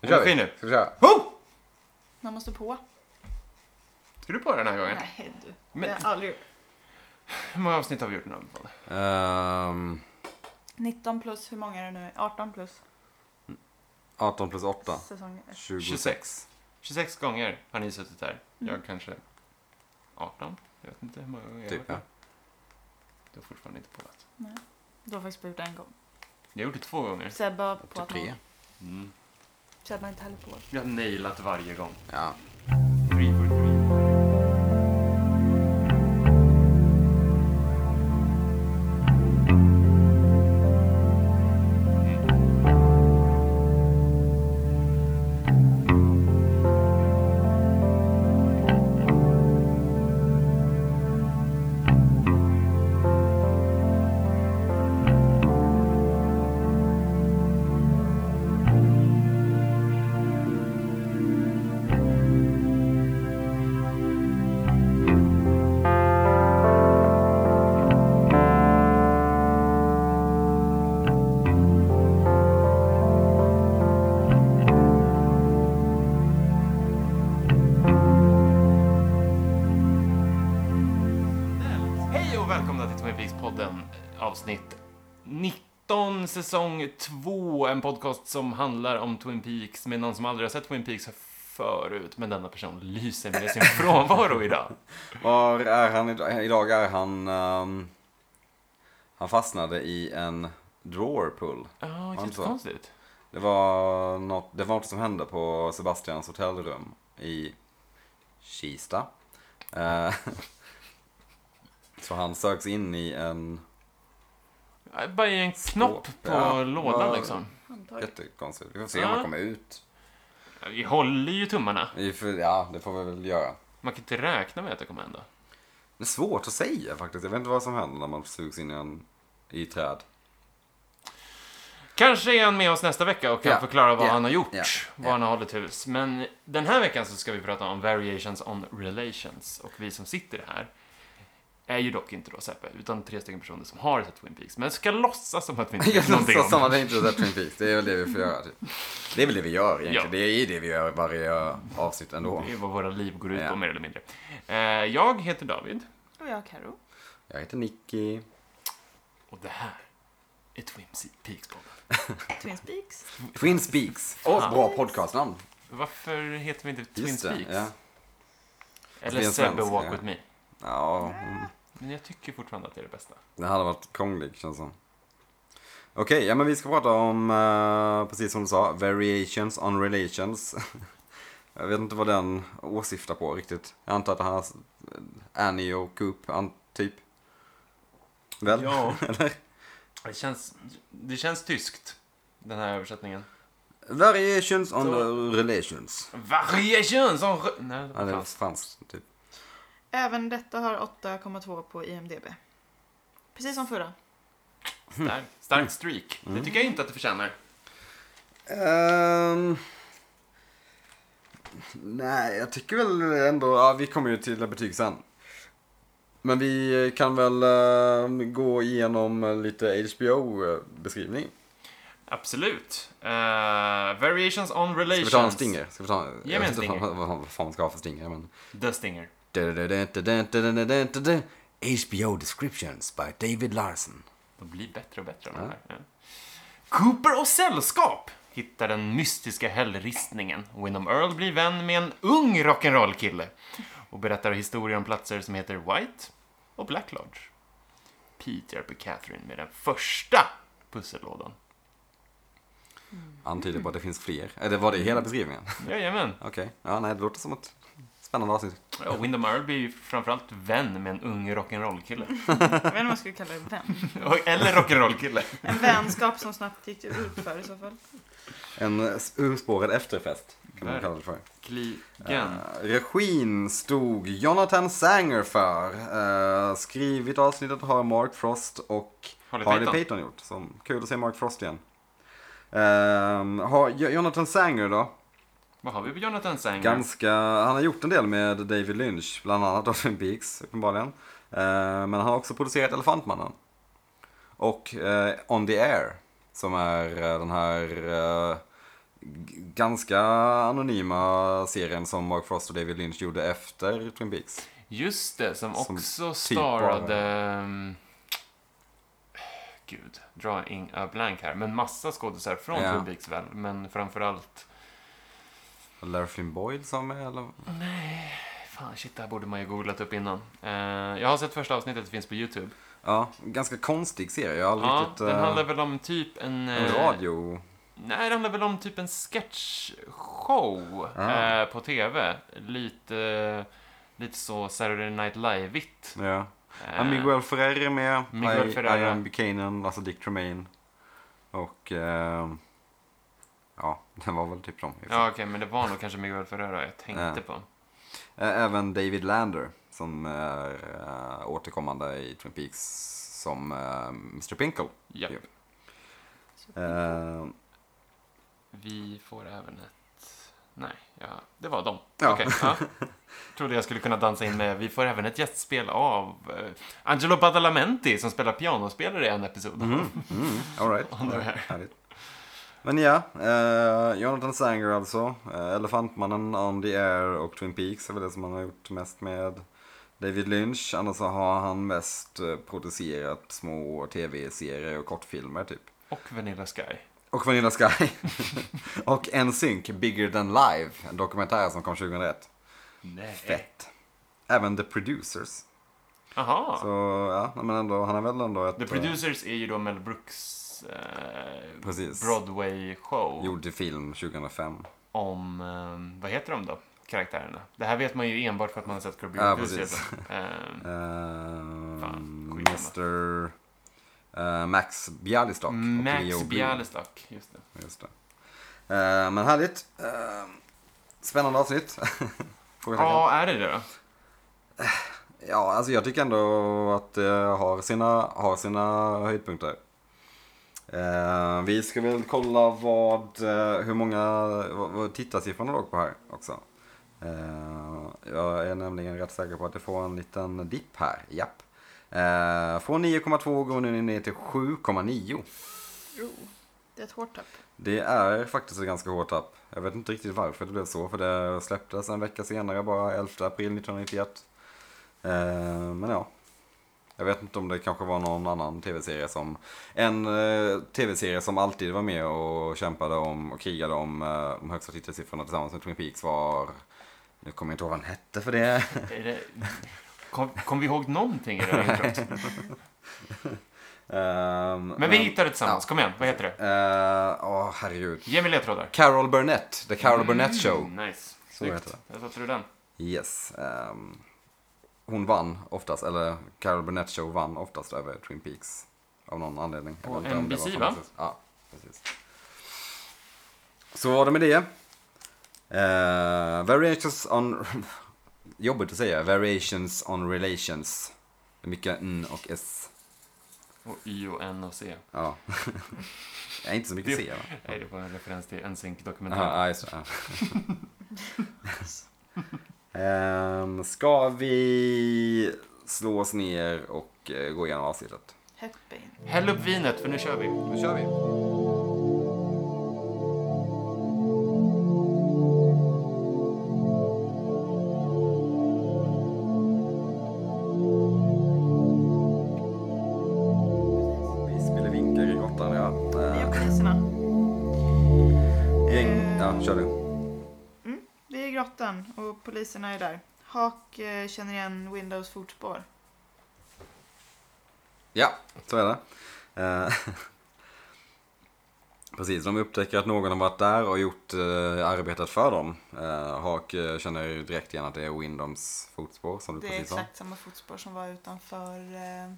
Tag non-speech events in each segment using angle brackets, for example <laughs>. Nu Är kör du vi. fin nu? Ska vi köra? Oh! Man måste på. Ska du på den här gången? Nej, du. Men- Men... Jag har aldrig gjort. Hur många avsnitt har vi gjort nu? Paul? Ehm, 19 plus, hur många är det nu? 18 plus 18 plus 8. säsonger. 20. 26. 26 gånger har ni suttit här. Mm. Jag kanske 18? Jag vet inte hur många gånger Typ, ja. jag har Du har fortfarande inte pålat. Nej. Du har faktiskt bara gjort det en gång. Jag har gjort det två gånger. Sebbe har på Typ att han- 3. Mm. Sebbe har inte heller på. Jag har nailat varje gång. Ja. Three for three. Hej och välkomna till Tommy Peaks podden eh, avsnitt 19 säsong 2. En podcast som handlar om Twin Peaks med någon som aldrig har sett Twin Peaks förut. Men denna person lyser med <laughs> sin frånvaro idag. Var är han idag? Idag är han... ehm, han fastnade i en drawer pull. Ja, inte så? jättekonstigt. Det var, något, det var något som hände på Sebastians hotellrum i Kista. Eh, <laughs> så han sögs in i en Ja, Bara i en knopp på Ja, lådan var- liksom. Handtag. jättekonstig... Vi får se om han Ja. kommer ut. Ja, Vi håller ju tummarna. Vi får- Ja, det får vi väl göra. Man kan inte räkna med att det kommer hända. Det är svårt att säga faktiskt. Jag vet inte vad som händer när man sugs in i, en, i träd. Kanske är han med oss nästa vecka och kan Ja, förklara vad ja, han har gjort, ja, var ja. han har hållit hus. Men den här veckan så ska vi prata om variations on relations. Och vi som sitter här är ju dock inte då Seppe, utan tre stycken personer som har sett Twin Peaks, men ska låtsas som att vi inte vet <laughs> Jag någonting låtsas som om att jag inte har sett Twin Peaks. Det är väl det vi får göra. Typ. Det är väl det vi gör egentligen. Ja. Det är ju det vi gör i varje avsnitt ändå. det. är vad våra liv går ut Ja. på, mer eller mindre. Eh, Jag heter David, Och jag Karo. Jag heter Nicky. och det här är Twin Peaks-podden. Twin Speaks. Twin Speaks. Åh, bra podcastnamn. Varför heter vi inte Twin Just det. Peaks? Ja. Eller Det är en Sebbe svensk, Walk ja. With Me. ja, mm. Men jag tycker fortfarande att det är det bästa. det hade varit krångligt känns som. Okej, ja men vi ska prata om, eh, precis som du sa, variations on relations. <laughs> jag vet inte vad den åsyftar på riktigt. Jag antar att det här är Annie och Coop, an, typ. Väl? <laughs> Ja. det, känns, det känns tyskt, den här översättningen. Variations on Så- relations. Variation som... rö- Nej, det Ja, var det är franskt. franskt, typ. Även detta har 8,2 på IMDB. Precis som förra. <laughs> Stark, stark streak. Mm. Det tycker jag inte att det förtjänar. Ehm, nej, jag tycker väl ändå, ja, vi kommer ju till betyg sen. Men vi kan väl ehm, gå igenom lite eh, HBO-beskrivning. Absolut. Eh, variations on Ska relations. vi ta en stinger? Ska vi ta en, Ge mig en jag vet inte stinger. Vad, vad, vad fan man ska ha för stinger, men... The stinger. HBO descriptions by David Larson. De blir bättre och bättre. de här. Ja. Cooper och sällskap hittar den mystiska hällristningen. Wyndham Earl blir vän med en ung rock'n'roll-kille och berättar historier om platser som heter White och Black Lodge. Pete hjälper Catherine med den första pussellådan. Antyder på att det finns fler. Eller var det hela beskrivningen? Jajamän. Okej. Ja, nej, det låter som ett spännande avsnitt. Ja, Wyndham Earl blir ju framförallt vän med en ung rock'n'roll-kille. Jag vet inte vad jag skulle kalla det. Vän. <laughs> Eller rock'n'roll-kille. En vänskap som snabbt gick ut för i så fall. En eh, urspårad efterfest, kan man Verkligen. kalla det för. Kligen. Eh, regin stod Jonathan Sanger för. Eh, skrivit avsnittet har Mark Frost och Harley Harley Payton. Payton, gjort. Så kul att se Mark Frost igen. Ehm, har Jo- Jonathan Sanger då, Vad har vi på Jonathan Sanger? ganska, han har gjort en del med David Lynch, bland annat av Twin Peaks uppenbarligen. Eh, men han har också producerat Elefantmannen. Och eh, On the Air, som är eh, den här eh, g- ganska anonyma serien som Mark Frost och David Lynch gjorde efter Twin Peaks. Just det, som Som också typ bara- starade... ehm, Gud, dra in a blank här. Men massa skådisar från Ja. Twin Peaks väl, men framförallt... Larry Flynn Boyd som är eller? Fan, shit, det här borde man ju googlat upp innan. Eh, jag har sett första avsnittet, det finns på YouTube. Ja, ganska konstig serie. Jag har aldrig Ja, riktigt... den eh, handlar väl om typ en... en eh, radio... Nej, det handlar väl om typ en sketchshow Ah. eh, på TV. Lite, lite så Saturday Night Live-igt. Ja. Eh, Ja, Miguel Ferrer är med. Miguel I- Ferrer. Ian Buchanan, alltså Dick Tremaine. Och... Eh, ja, <laughs> det var väl typ dem. i och för Ja, okej, men det var nog kanske Miguel Ferrara jag tänkte Ja. på. sig. Eh, Även David Lander som är eh, återkommande i Twin Peaks som eh, Mr Pinkle. Ja. Ja. Eh, Vi får även ett... Nej, ja, det var dem. Ja. Okej, ja. <laughs> Trodde jag skulle kunna dansa in med. Vi får även ett gästspel av eh, Angelo Badalamenti som spelar pianospelare i en <laughs> episod. <laughs> mm, mm, all right. Ja, det är. Härligt. Men ja, eh, Jonathan Sanger alltså. Eh, Elefantmannen, On the Air och Twin Peaks är väl det som han har gjort mest med David Lynch. Annars så har han mest eh, producerat små tv-serier och kortfilmer typ. Och Vanilla Sky. Och Vanilla Sky. <laughs> och NSYNC, Bigger Than Live. En dokumentär som kom 2001. Nej. Fett. Även The Producers. Aha. Så ja, men ändå, han är väl ändå ett... The eh, Producers är ju då Mel Brooks eh, Precis. Broadway-show Gjorde film 2005. om, eh, vad heter de då, karaktärerna? Det här vet man ju enbart för att man har sett Kirby Ja, Enthusiasm. <laughs> Eh, Fan, Ehm, Mr. skitsamma. eh, Max Bialystock. och Leo Mm, Max Blue. Bialystock, just det. Just det. Eh, men härligt. Eh, spännande avsnitt. <laughs> Frågetecken. Ja, är det det då? Ja, alltså jag tycker ändå att det har sina, har sina höjdpunkter. Eh, vi ska väl kolla vad, eh, hur många, vad, vad tittarsiffrorna låg på här också. Eh, jag är nämligen rätt säker på att det får en liten dipp här, japp. Eh, från 9,2 går nu ner till 7,9. Jo, det är ett hårt tapp. Det är faktiskt ett ganska hårt tapp. Jag vet inte riktigt varför det blev så, för det släpptes en vecka senare, bara 11 april 1991. Eh, men ja. Jag vet inte om det kanske var någon annan tv-serie som... En eh, tv-serie som alltid var med och kämpade om och krigade om eh, de högsta tittarsiffrorna tillsammans med Twin Peaks var... Nu kommer jag inte ihåg vad den hette för det. Är det... Kom, kom vi ihåg någonting i det <laughs> här introt? Ehm, Men vi hittar det tillsammans, kom igen, vad heter det? Eh, Åh, herregud. Ge mig ledtrådar. Carol Burnett. The Carol Burnett Show. Mm, nice, heter snyggt. det. Där satte du den. Yes. ehm, hon vann oftast, eller Carol Burnett Show vann oftast över Twin Peaks. Av någon anledning. Jag På vet inte om det var NBC, samma va? säsong. Ja, precis. Så var det med det. Eh, variations on... <laughs> Jobbigt att säga. Variations on relations. Det är Mycket N och S. Och Y och N och C. Ja. <laughs> Jag är inte så mycket C va? Nej, det var en referens till NSYNC-dokumentären. Aha, ja, just det. Ja. Ehm, ska vi slå oss ner och eh, gå igenom avsnittet? Heppin. Häll upp vinet, för nu kör vi. Nu kör vi. Vi spelar vinkar i grottan, ja. Vi Eh, är poliserna. gäng- Ja, kör du. Vi är i grottan och poliserna är där. Hak eh, känner igen Windows fotspår. Ja, så är det. Eh, <laughs> Precis, de upptäcker att någon har varit där och gjort eh, arbetet för dem. Eh, Hak eh, känner ju direkt igen att det är Windoms fotspår som du Det är precis sa. exakt samma fotspår som var utanför eh,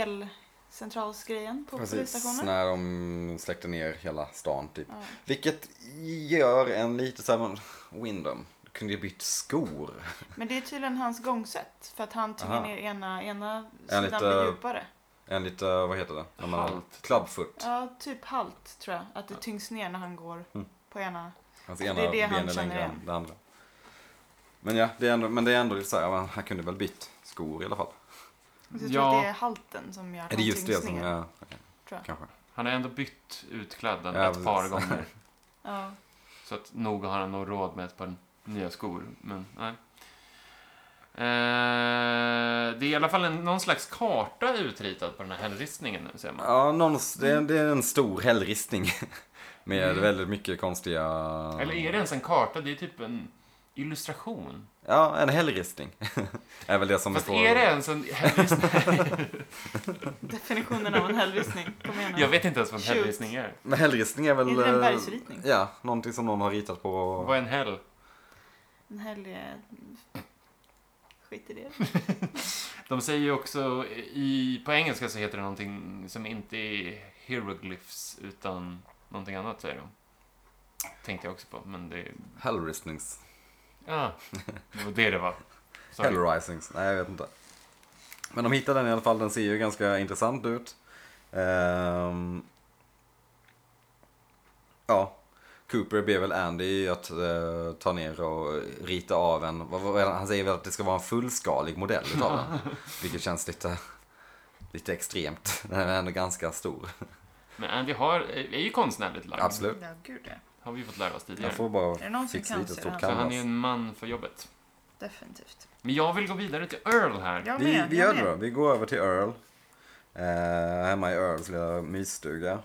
elcentralsgrejen på Precis, polisstationen. när de släckte ner hela stan typ. Ja. Vilket gör en lite såhär, Windom, du kunde ju bytt skor. Men det är tydligen hans gångsätt. För att han tog Aha. ner ena, ena sidan lite- blir djupare. En lite, vad heter det? När man- Halt. Clubfoot. Ja, typ halt tror jag. Att det tyngs ner när han går Mm. på ena. Hans Det är ena det han ben är känner längre igen. än det andra. Men ja, det är ändå, men det är ändå lite såhär, man- han kunde väl bytt skor i alla fall. Och så tror Ja. jag att det är halten som gör att Är det han just det tyngs som ner. är... tror jag. Kanske. Han har ändå bytt utklädnad Ja, ett par precis. gånger. Ja. Så att nog har han nog råd med ett par nya skor, men nej. Eh, det är i alla fall en, någon slags karta utritad på den här hällristningen nu ser man. Ja, någonstans, det, är, Mm. det är en stor hällristning. <laughs> Med Mm. väldigt mycket konstiga... Eller är det ens en karta? Det är typ en illustration. Ja, en hällristning. <laughs> är väl det som Fast vi får... är det ens en <laughs> hällristning? Definitionen av en hällristning. Kom igen nu. Jag vet inte ens vad en Shoot. hällristning är. Men hällristning är väl... Är det en eh, bergsritning? Ja, någonting som någon har ritat på. Vad är en häll? En helg är... Skit i det. De säger ju också, i, på engelska så heter det någonting som inte är hieroglyphs utan någonting annat säger de. Tänkte jag också på, men det... Hellristnings. Ja, det var det det var. Sorry. Hellrisings. Nej, jag vet inte. Men de hittade den i alla fall. Den ser ju ganska intressant ut. Ehm, Ja. Cooper ber väl Andy att eh, ta ner och rita av en. Vad, vad, är det? han säger väl att det ska vara en fullskalig modell utav <laughs> den. Vilket känns lite, lite extremt. Den är ändå ganska stor. Men Andy har, eh, är ju konstnärligt lagd. Absolut. Ja, gud ja. Har vi fått lära oss tidigare. Jag får bara Är det någon som fixa kan lite se stort den? Så han canvas. är en man för jobbet. Definitivt. Men jag vill gå vidare till Earl här. Jag Vi, med. vi jag gör det med. då. Vi går över till Earl. Eh, hemma i Earls lilla mysstuga.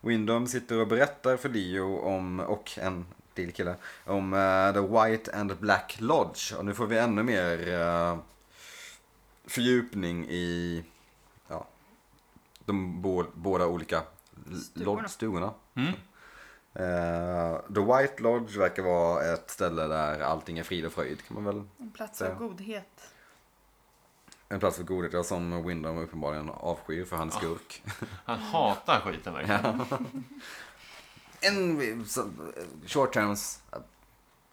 Windom sitter och berättar för Leo om, och en till kille, om eh, The White and Black Lodge. Och nu får vi ännu mer eh, fördjupning i ja, de bo, båda olika Stugorna. lodge-stugorna. Mm? Eh, The White Lodge verkar vara ett ställe där allting är frid och fröjd kan man väl En plats Ja. av godhet. En plats för godhet, ja, som Windom uppenbarligen avskyr för han är skurk. Han hatar skiten verkligen. <laughs> En så- short terms a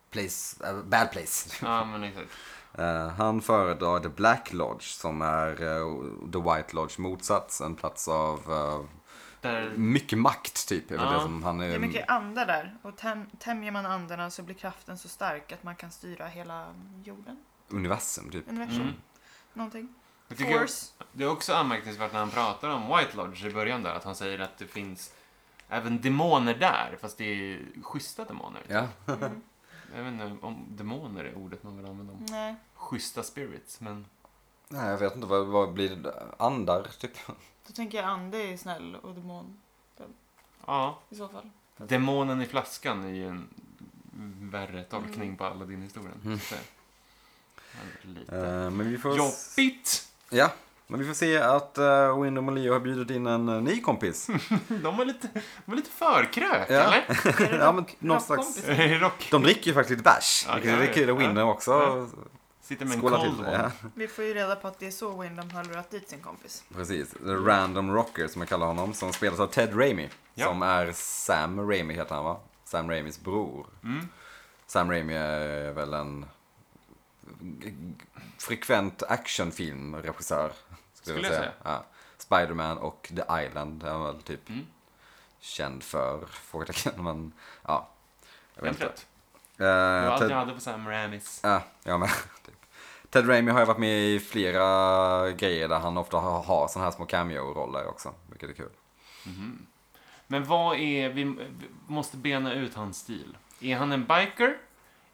place, a bad place. Ja, men exakt. Eh, han föredrar The Black Lodge som är eh, The White Lodge motsats. En plats av eh, Där, mycket makt typ. Är väl Ja. det som han Det Ehm. är, är mycket andar där. Och täm, tämjer man andarna så blir kraften så stark att man kan styra hela jorden. universum typ. Universum. mm. Någonting. Jag tycker Force. <laughs> Det är också anmärkningsvärt när han pratar om White Lodge i början där, att han säger att det finns även demoner där, fast det är schyssta demoner. Ja. Mm. Jag vet inte om demoner är ordet man vill använda om Nej. schyssta spirits, men Nej, jag vet inte, vad, vad blir det? Andar typ? Då tänker jag ande är snäll och demon ja. i så <laughs> fall. Demonen i flaskan är ju en värre tolkning på alla din historien. Mm. Så att säga. Ja, Lite Eh, men vi får... jobbigt! Ja. Men vi får se att uh, Windom och Leo har bjudit in en eh, ny kompis. De var lite, de var lite förkrök, Ja. eller? Är det Ja, rock- men någon slags- rockkompis? Är det Rock De dricker ju faktiskt lite bärs. Ja, vilket ja, är kul. ja. Och Windom också Ja. sitter med en skålar cold till. Ja. one. Vi får ju reda på att det är så Windham har lurat dit sin kompis. Precis, The Random Rocker som jag kallar honom, som spelas av Ted Raimi. Ja. Som är Sam Raimi heter han va? Sam Raimis bror. Mm. Sam Raimi är väl en g- g- frekvent actionfilmregissör. Skulle jag säga. Ja. Spiderman och The Island är han väl typ Mm. känd för, frågetecken. Men ja, jag vet Helt inte. rätt. Det var Eh, allt Ted, jag hade på Sam Ramis. Ja, jag med. <laughs> Typ. Ted Raimi har ju varit med i flera grejer där han ofta har, har såna här små cameo-roller också, vilket är kul. Mhm. Men vad är, vi vi måste bena ut hans stil. Är han en biker?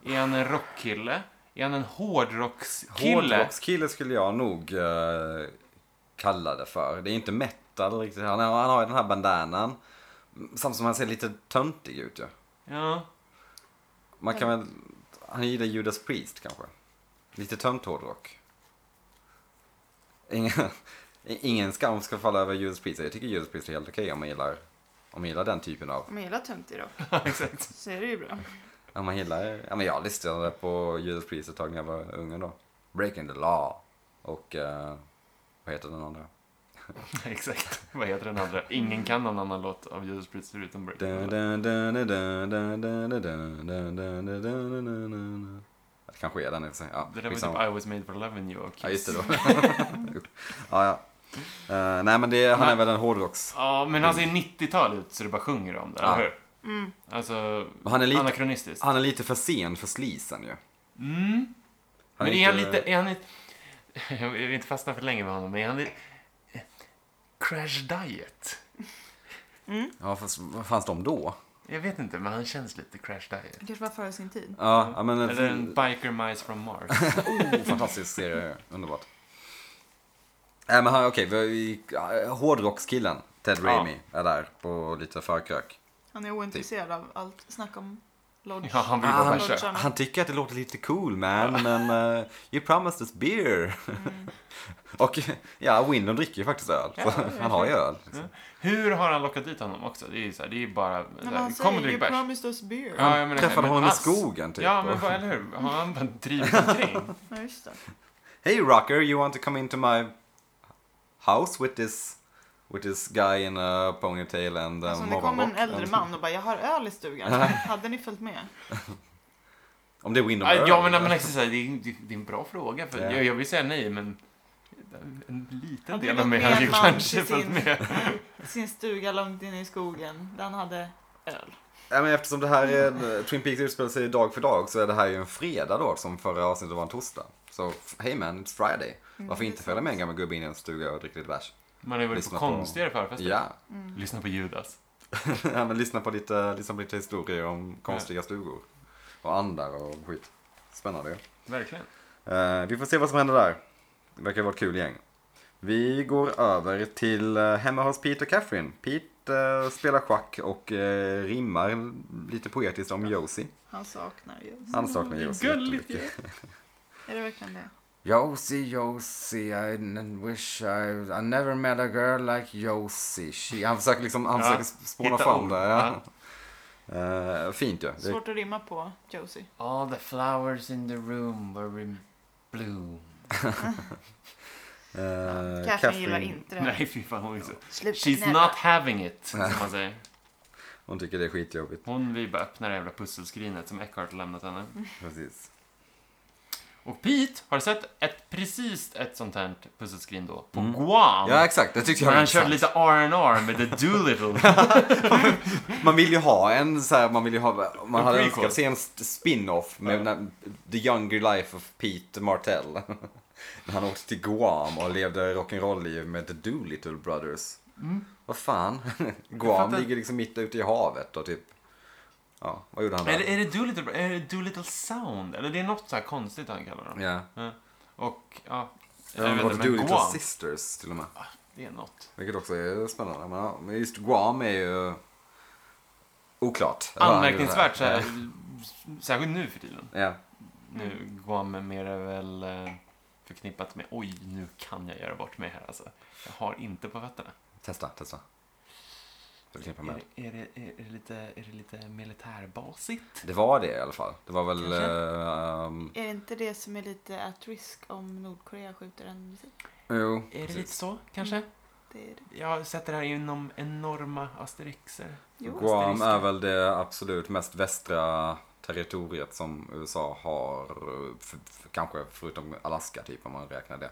Är han en rockkille? Är han en hårdrockskille? Hårdrockskille skulle jag nog eh, kalla det för. Det är inte metal riktigt. Han, har- han har ju den här bandanan. Samtidigt som han ser lite töntig ut ju. Ja, <laughs> Man kan väl... Han gillar Judas Priest kanske. Lite tönt hårdrock. Ingen, <laughs> ingen skam ska falla över Judas Priest. Jag tycker Judas Priest är helt okej om man gillar, om man gillar den typen av Om jag gillar töntig rock exakt. så är det ju bra. Ja, man gillar, ja, men jag lyssnade på Judas Priest ett tag när jag var ung då. Breaking the Law och eh, vad heter den andra? exakt. Vad heter den andra? Ingen kan någon annan låt av Judas Priest förutom Break. Dun, dun, dun, dun, dun, dun, dun, dun, dun, dun, dun, dun, dun, dun, dun. Det kanske är den i och för sig. Ja, Det där var typ skitsamma. I was made for loving you och Kiss. ja just det då. <laughs> ja, ja. Eh, nej men det, han är väl en hårdrocks... Ja, men han ser 90-tal ut så det bara sjunger om det, Ja. eller hur? Mm. Alltså, Men Han är, Ah. lite, anakronistiskt. han är lite för sen för slisen ju. Mm. Han men är han lite, är han lite... <laughs> Jag vill inte fastna för länge med honom, men är han lite... Crash Diet? Ja fast vad fanns de då? Jag vet inte, men han känns lite crash diet. Det kanske var före sin tid. Ja, ja, men en Eller en fin, biker mice from Mars. <laughs> oh, fantastisk serie. Underbart. Nej, men han, okej, vi har ju- hårdrockskillen Ted Ja. Raimi är där på lite förkrök. Han är ointresserad av allt snack om Lodge. Ja, han vill Ah, vara han- bärsärk. Lodge-arna. Han tycker att det låter lite cool man, men eh, you promised us beer. Mm. Och ja, Windon dricker ju faktiskt öl. Ja, så ja, ja. han har ju öl. Ja. Hur har han lockat dit honom också? Det är ju så här, det är ju bara... så Nej, här, men han Kom och säger drick you bärs. promised us beer. Ja, jag menar, Träffade men honom i ass. skogen typ. Ja, Och- men vad, eller hur? Har han bara drivit <laughs> omkring? Ja, just det. Hey rocker, you want to come into my house with this with this guy in a ponytail and Alltså, uh, om det kom en morgonrock? äldre man och bara, jag har öl i stugan. <laughs> Hade ni följt med? Om det är Windom Ja, ja, men, men liksom, så här, det, är, det, det är en bra fråga. För Ja. jag, jag vill säga nej, men en liten Hade del du av mig gått med hade ju en man kanske till följt sin- med. Sin stuga långt inne i skogen. Där han hade öl. Ja, men eftersom det här är en, eh, Twin Peaks utspelar sig dag för dag så är det här ju en fredag då som förra avsnittet var en torsdag. Så f- hey man, it's Friday. Mm, Varför det är inte följa sant. med en gammal gubbe in i en stuga och dricka lite bärs? Man har ju varit på Lyssna på- konstigare förfester. Ja, Lyssna på Judas. <laughs> ja men lyssna på lite, lyssna på lite historier om konstiga stugor. Och andar och skit. Spännande ju. Verkligen. Eh, vi får se vad som händer där. Det verkar vara ett kul gäng. Vi går över till eh, hemma hos Pete och Catherine. Pete eh, spelar schack och eh, rimmar lite poetiskt om Josie. Han saknar ju. Han saknar Josie Gulligt ju. jättemycket. Är det verkligen det? Josie, Josie, I n- wish I, I never met a girl like Josie. She, han försöker liksom, han Ja, försöker spåna hitta fram ord. det. Ja. Eh, fint ju. Det- Svårt att rimma på Josie. All the flowers in the room were in bloom. eh, Catherine, gillar inte det. Nej, fy fan. Hon är så... Sluta She's gnälla. not having it, som man säger. Hon tycker det är skitjobbigt. Hon vill bara öppna det jävla pusselskrinet som Eckhart lämnat henne. Precis. Och Pete har sett ett, precis ett sånt här pusselskrin då, på Mm. Guam. Ja, exakt. Det tyckte jag när var han körde intressant. lite R&R med <laughs> The Doolittle. Man vill ju ha en så här, man vill ju ha, man En hade prequel. önskat se en st- spin-off med Ja. när, The Younger Life of Pete Martell. <laughs> När han åkte till Guam och levde rock'n'roll-liv med The Doolittle Brothers. Mm. Vad fan? <laughs> Jag Guam fattar. ligger liksom mitt ute i havet och typ, ja, vad gjorde han är, där? det- är det Doolittle, är det Doolittle Sound? Eller det är något så här konstigt han kallar dem. Ja. Och, ja. Jag Det vet var inte, The men Doolittle Guam, Sisters till och med. det är något. Vilket också är spännande. Men, ja, men just Guam är ju oklart. Anmärkningsvärt så här, Ja. särskilt nu för tiden. Ja. Nu, Guam är mer väl eh, förknippat med oj, nu kan jag göra bort mig här alltså. Jag har inte på fötterna. Testa, testa. Förknippa med. Är, det- är, det, är, det lite, är det lite militärbasigt? Det var det i alla fall. Det var väl... Kanske. ehm, Är det inte det som är lite at risk om Nordkorea skjuter en missil? jo, Är det lite precis. så, kanske? Mm. Det är det. Jag sätter det här inom enorma asterixer. Jo. Guam är Asterisker. väl det absolut mest västra territoriet som USA har. F- f- kanske förutom Alaska typ om man räknar det.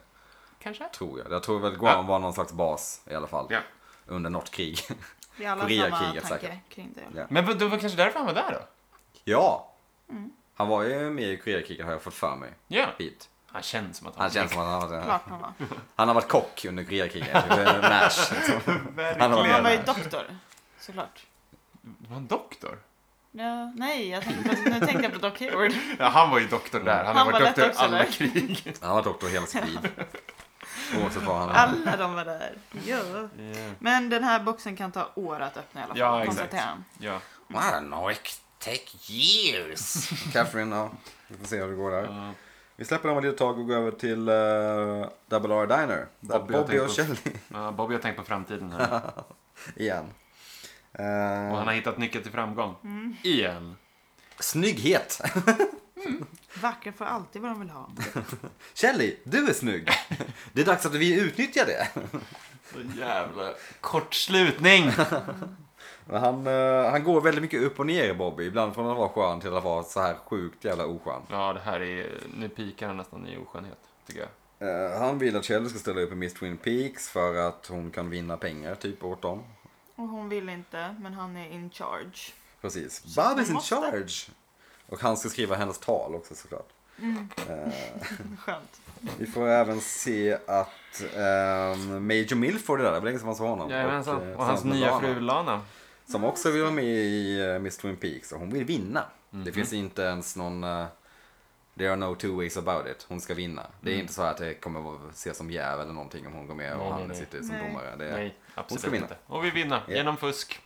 Kanske? Tror jag. Jag tror väl Guam var någon slags bas i alla fall. Ja. Under något krig. <laughs> Vi alla har samma Koreakriget tankar säkert. kring det. Ja. Men vad- det var kanske därför han var där då? ja! Mm. Han var ju med i Koreakriget har jag fått för mig. Ja. Hit. Han känns som att han... Han känns som att han har varit, Klart han var. han har varit kock under Koreakriget. typ, eh, Nash. Han <laughs> var Men han var ju där. doktor, såklart. Var han doktor? Ja, nej, jag tänkte, nu tänkte jag på Doc Hayward. Ja, han var ju doktor där. Han, Han har var varit doktor i detta också, alla eller? <laughs> krig. Han har varit doktor hela sitt liv. <laughs> Oavsett vad han är. Alla de var där. Ja. Men den här boxen kan ta år att öppna i alla fall, Ja, exakt. konstaterar han. Ja. I don't know, it take years. <laughs> Catherine, ja. Vi får se hur det går där. Ja. Vi släpper dem ett litet tag och går över till eh, Double R Diner. Där Bobby, Bobby har tänkt och oss. Kjell <laughs> Ja, Bobby har tänkt på framtiden här. igen. Eh, Och han har hittat nyckeln till framgång. Igen. Snygghet! <laughs> Vackra får alltid vad de vill ha. Kelly, du är <laughs> snygg! Det är dags att vi utnyttjar det. <laughs> Så jävla kortslutning. Men han, eh, han går väldigt mycket upp och ner Bobby. Ibland från att vara skön till att vara så här sjukt jävla oskön. Ja, det här är... Nu pikar han nästan i oskönhet, tycker jag. Eh, han vill att Kjell ska ställa upp i Miss Twin Peaks för att hon kan vinna pengar typ åt dem. Och hon vill inte, men han är in charge. Precis. Så hon Bobby's in måste. charge! Och han ska skriva hennes tal också såklart. Skönt. Vi får även se att ehm, Major Milford är där. Det var länge sedan man såg honom. Jajamensan. eh, Och hans tillsammans med nya Lana. fru Lana. Som också vill vara med i eh, Miss Twin Peaks och hon vill vinna. Mhm. Det finns inte ens någon... eh, There are no two ways about it. Hon ska vinna. Det är inte så här att det kommer vara- ses som jäv eller någonting om hon går med och Mm. Nej, nej, han nej. sitter som Nej. domare. Det är, Nej, absolut ska vinna. inte. Och vi vinner Ja. genom fusk.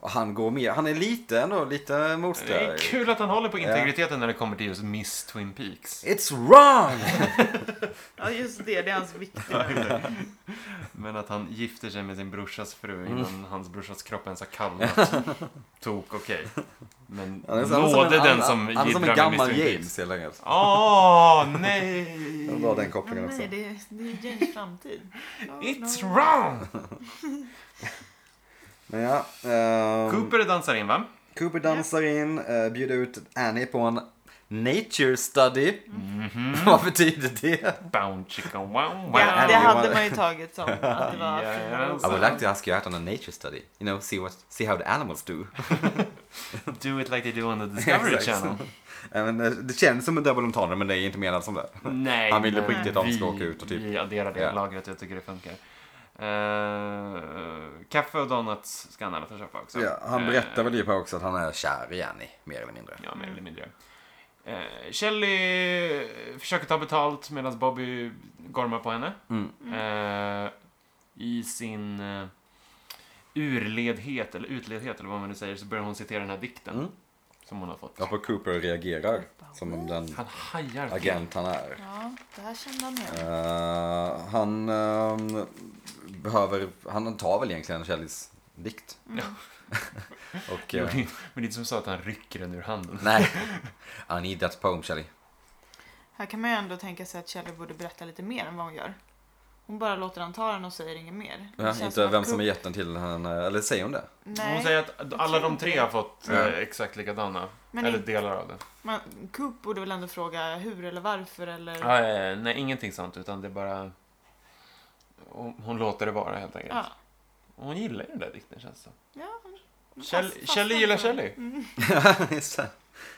Och han går med. Han är lite ändå, lite Det är motsträvig. kul att han håller på Ja. integriteten när det kommer till just Miss Twin Peaks. It's wrong! Ja, just det. Det är hans <laughs> viktiga. Men att han gifter sig med sin brorsas fru Mm. innan hans brorsas kropp ens <laughs> har kallnat. Tok, okej. Men Han är så- han är som nåde en- den han- som Han är som en gidrar med Miss gammal Twin Peaks. James helt enkelt. Åh, Det var nej! den kopplingen också. Nej, det är, det är James framtid. Ja, It's no. wrong! <laughs> Men ja, ehm, Cooper dansar in, va? Cooper dansar in, eh, bjuder ut Annie på en nature study. <laughs> Vad betyder det? Bound chicken wow Det, Wow. det wow. hade man ju tagit som att det <laughs> var Yes. I fyra would like to ask you out on a nature study. You know, see what, see how the animals do. <laughs> Do it like they do on the Discovery Exakt. <laughs> Channel. Eh, men, eh, det känns som en double entendre men det är inte menat som det. Nej, Han ville på men riktigt att de ska vi- åka ut och typ- Vi adderar det Ja. lagret, jag tycker det funkar. Eh, kaffe och donuts ska han alla få köpa också. Ja, han Eh, berättar väl ju på också att han är kär i Annie, mer eller mindre. Ja, mer eller mindre. Uh, Shelly försöker ta betalt medan Bobby gormar på henne. Mm. Eh, I sin eh, urledhet, eller utledhet, eller vad man nu säger, så börjar hon citera den här dikten Mm. som hon har fått. Varpå Cooper reagerar som den Han hajar. till. agent han är. Ja, det här kände han igen. Eh, han ehm, behöver, han tar väl egentligen Kellys dikt. Mm. <laughs> och, Jo, eh, det- Men det är inte som så att han rycker den ur handen. nej. I need that poem Kelly. Här kan man ju ändå tänka sig att Shelley borde berätta lite mer än vad hon gör. Hon bara låter han ta den och säger inget mer. Det Ja, känns inte att vem som är Coop- jätten till henne, eller säger hon det? <laughs> Nej, Hon säger att alla de tre har fått eh, Ja. exakt likadana. men eller in- delar av det. man, Coop borde väl ändå fråga hur eller varför eller... Ja, ja, ja. nej, ingenting sånt, utan det är bara... Hon, hon låter det vara, helt enkelt. Ja, Hon gillar ju den där dikten, känns det ja. men Kjell- fast- Kjell fast- gillar Kjell. Mm. Just det.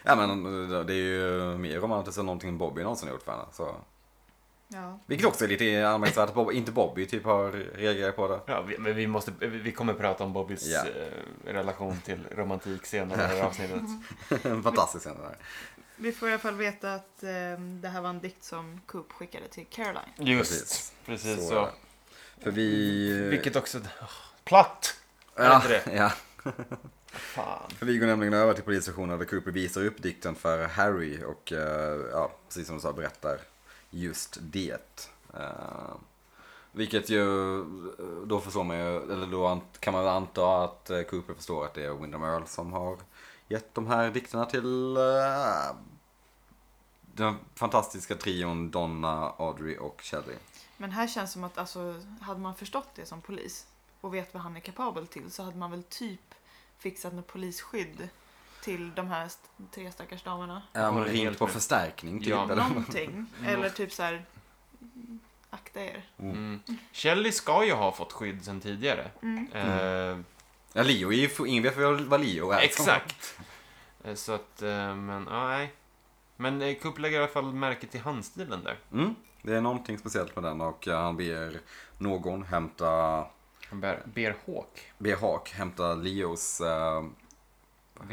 ja men eh, det är ju mer romantiskt än någonting Bobby någonsin har gjort för henne. Så. Ja. Vilket också är lite anmärkningsvärt att Bobby, inte Bobby typ har reagerat på <laughs> det. Ja, vi, men vi, måste, vi vi kommer prata om Bobbys Ja. eh, relation till romantik senare i det här <laughs> avsnittet. En fantastisk scen det där. Vi får i alla fall veta att eh, det här var en dikt som Coop skickade till Caroline. Just, Precis. precis, Så så. är det. För vi... Vilket också... åh, platt! är det ja, inte det? ja. Fan. För vi går nämligen över till polisstationen där Cooper visar upp dikten för Harry och eh, ja, precis som du sa berättar just det. Eh, vilket ju, eh, då förstår man ju, eller då ant- kan man väl anta att eh, Cooper förstår att det är Windham Earl som har gett de här dikterna till eh, den fantastiska trion Donna, Audrey och Shelley. Men här känns som att alltså, hade man förstått det som polis och vet vad han är kapabel till så hade man väl typ fixat något polisskydd till de här st- tre stackars damerna. Ja, men Håller ringt helt Ehm, på med. förstärkning typ. Ja. eller? Någonting. Eller typ så här. mm, Akta er. Mm. Shelley ska ju ha fått skydd sen tidigare. Mm. Eh, Ja, Leo är ju, ingen vet vad Leo är. Exakt. Eh, Så att, eh, men ja, nej. Men eh, Coop lägger i alla fall märke till handstilen där. Mm, det är någonting speciellt med den och eh, han ber någon hämta, Han ber, ber Hawk. ber Hak hämta Leos eh,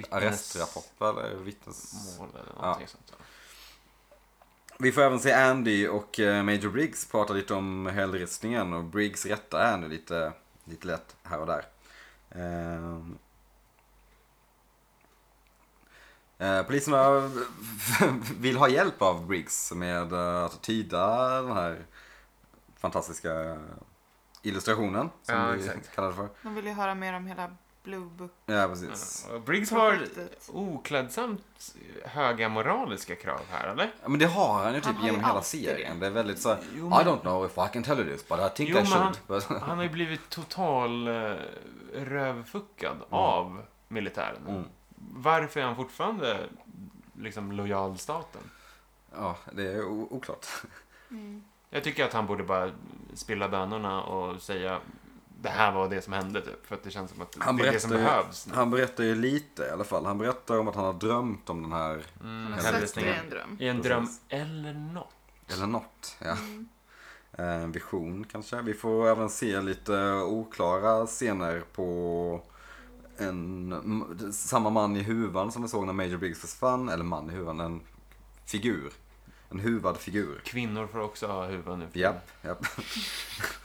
arrestrapport eller vittnes... Mål eller någonting sånt. Vi får även se Andy och eh, Major Briggs prata lite om hällristningen och Briggs rättar Andy lite, lite lätt här och där. Ehm. Eh, Poliserna <laughs> vill ha hjälp av Briggs med eh, att tyda den här fantastiska illustrationen som Ja, vi exakt. kallar det för. De vill ju höra mer om hela Blue Book. Ja, precis. Ja, och Briggs har Projektet. oklädsamt höga moraliska krav här, eller? Ja, Men det har han ju Han typ har ju genom hela alltid det. serien. Det är väldigt så här, Jo, I men- don't know if I can tell you this, but I think Jo, I men should. han- But- Han har ju blivit total eh, rövfuckad av militären. <laughs> Mm. Varför är han fortfarande liksom lojal staten? Ja, det är o- oklart. Jag tycker att han borde bara spilla bönorna och säga det här var det som hände typ. För att det känns som att Han det är det som berättar ju- behövs. nu. Han berättar ju lite i alla fall. Han berättar om att han har drömt om den här, Mm, Han har Ja, sett det visst, hänvisningen. i ja. en dröm. I en Precis. dröm eller något. eller något, ja. Eh, En vision kanske. Vi får även se lite oklara scener på en, m- samma man i huvan som vi såg när Major Briggs försvann, eller man i huvan, en figur. En huvad figur. Kvinnor får också ha huvud nu. för Japp, japp. <laughs>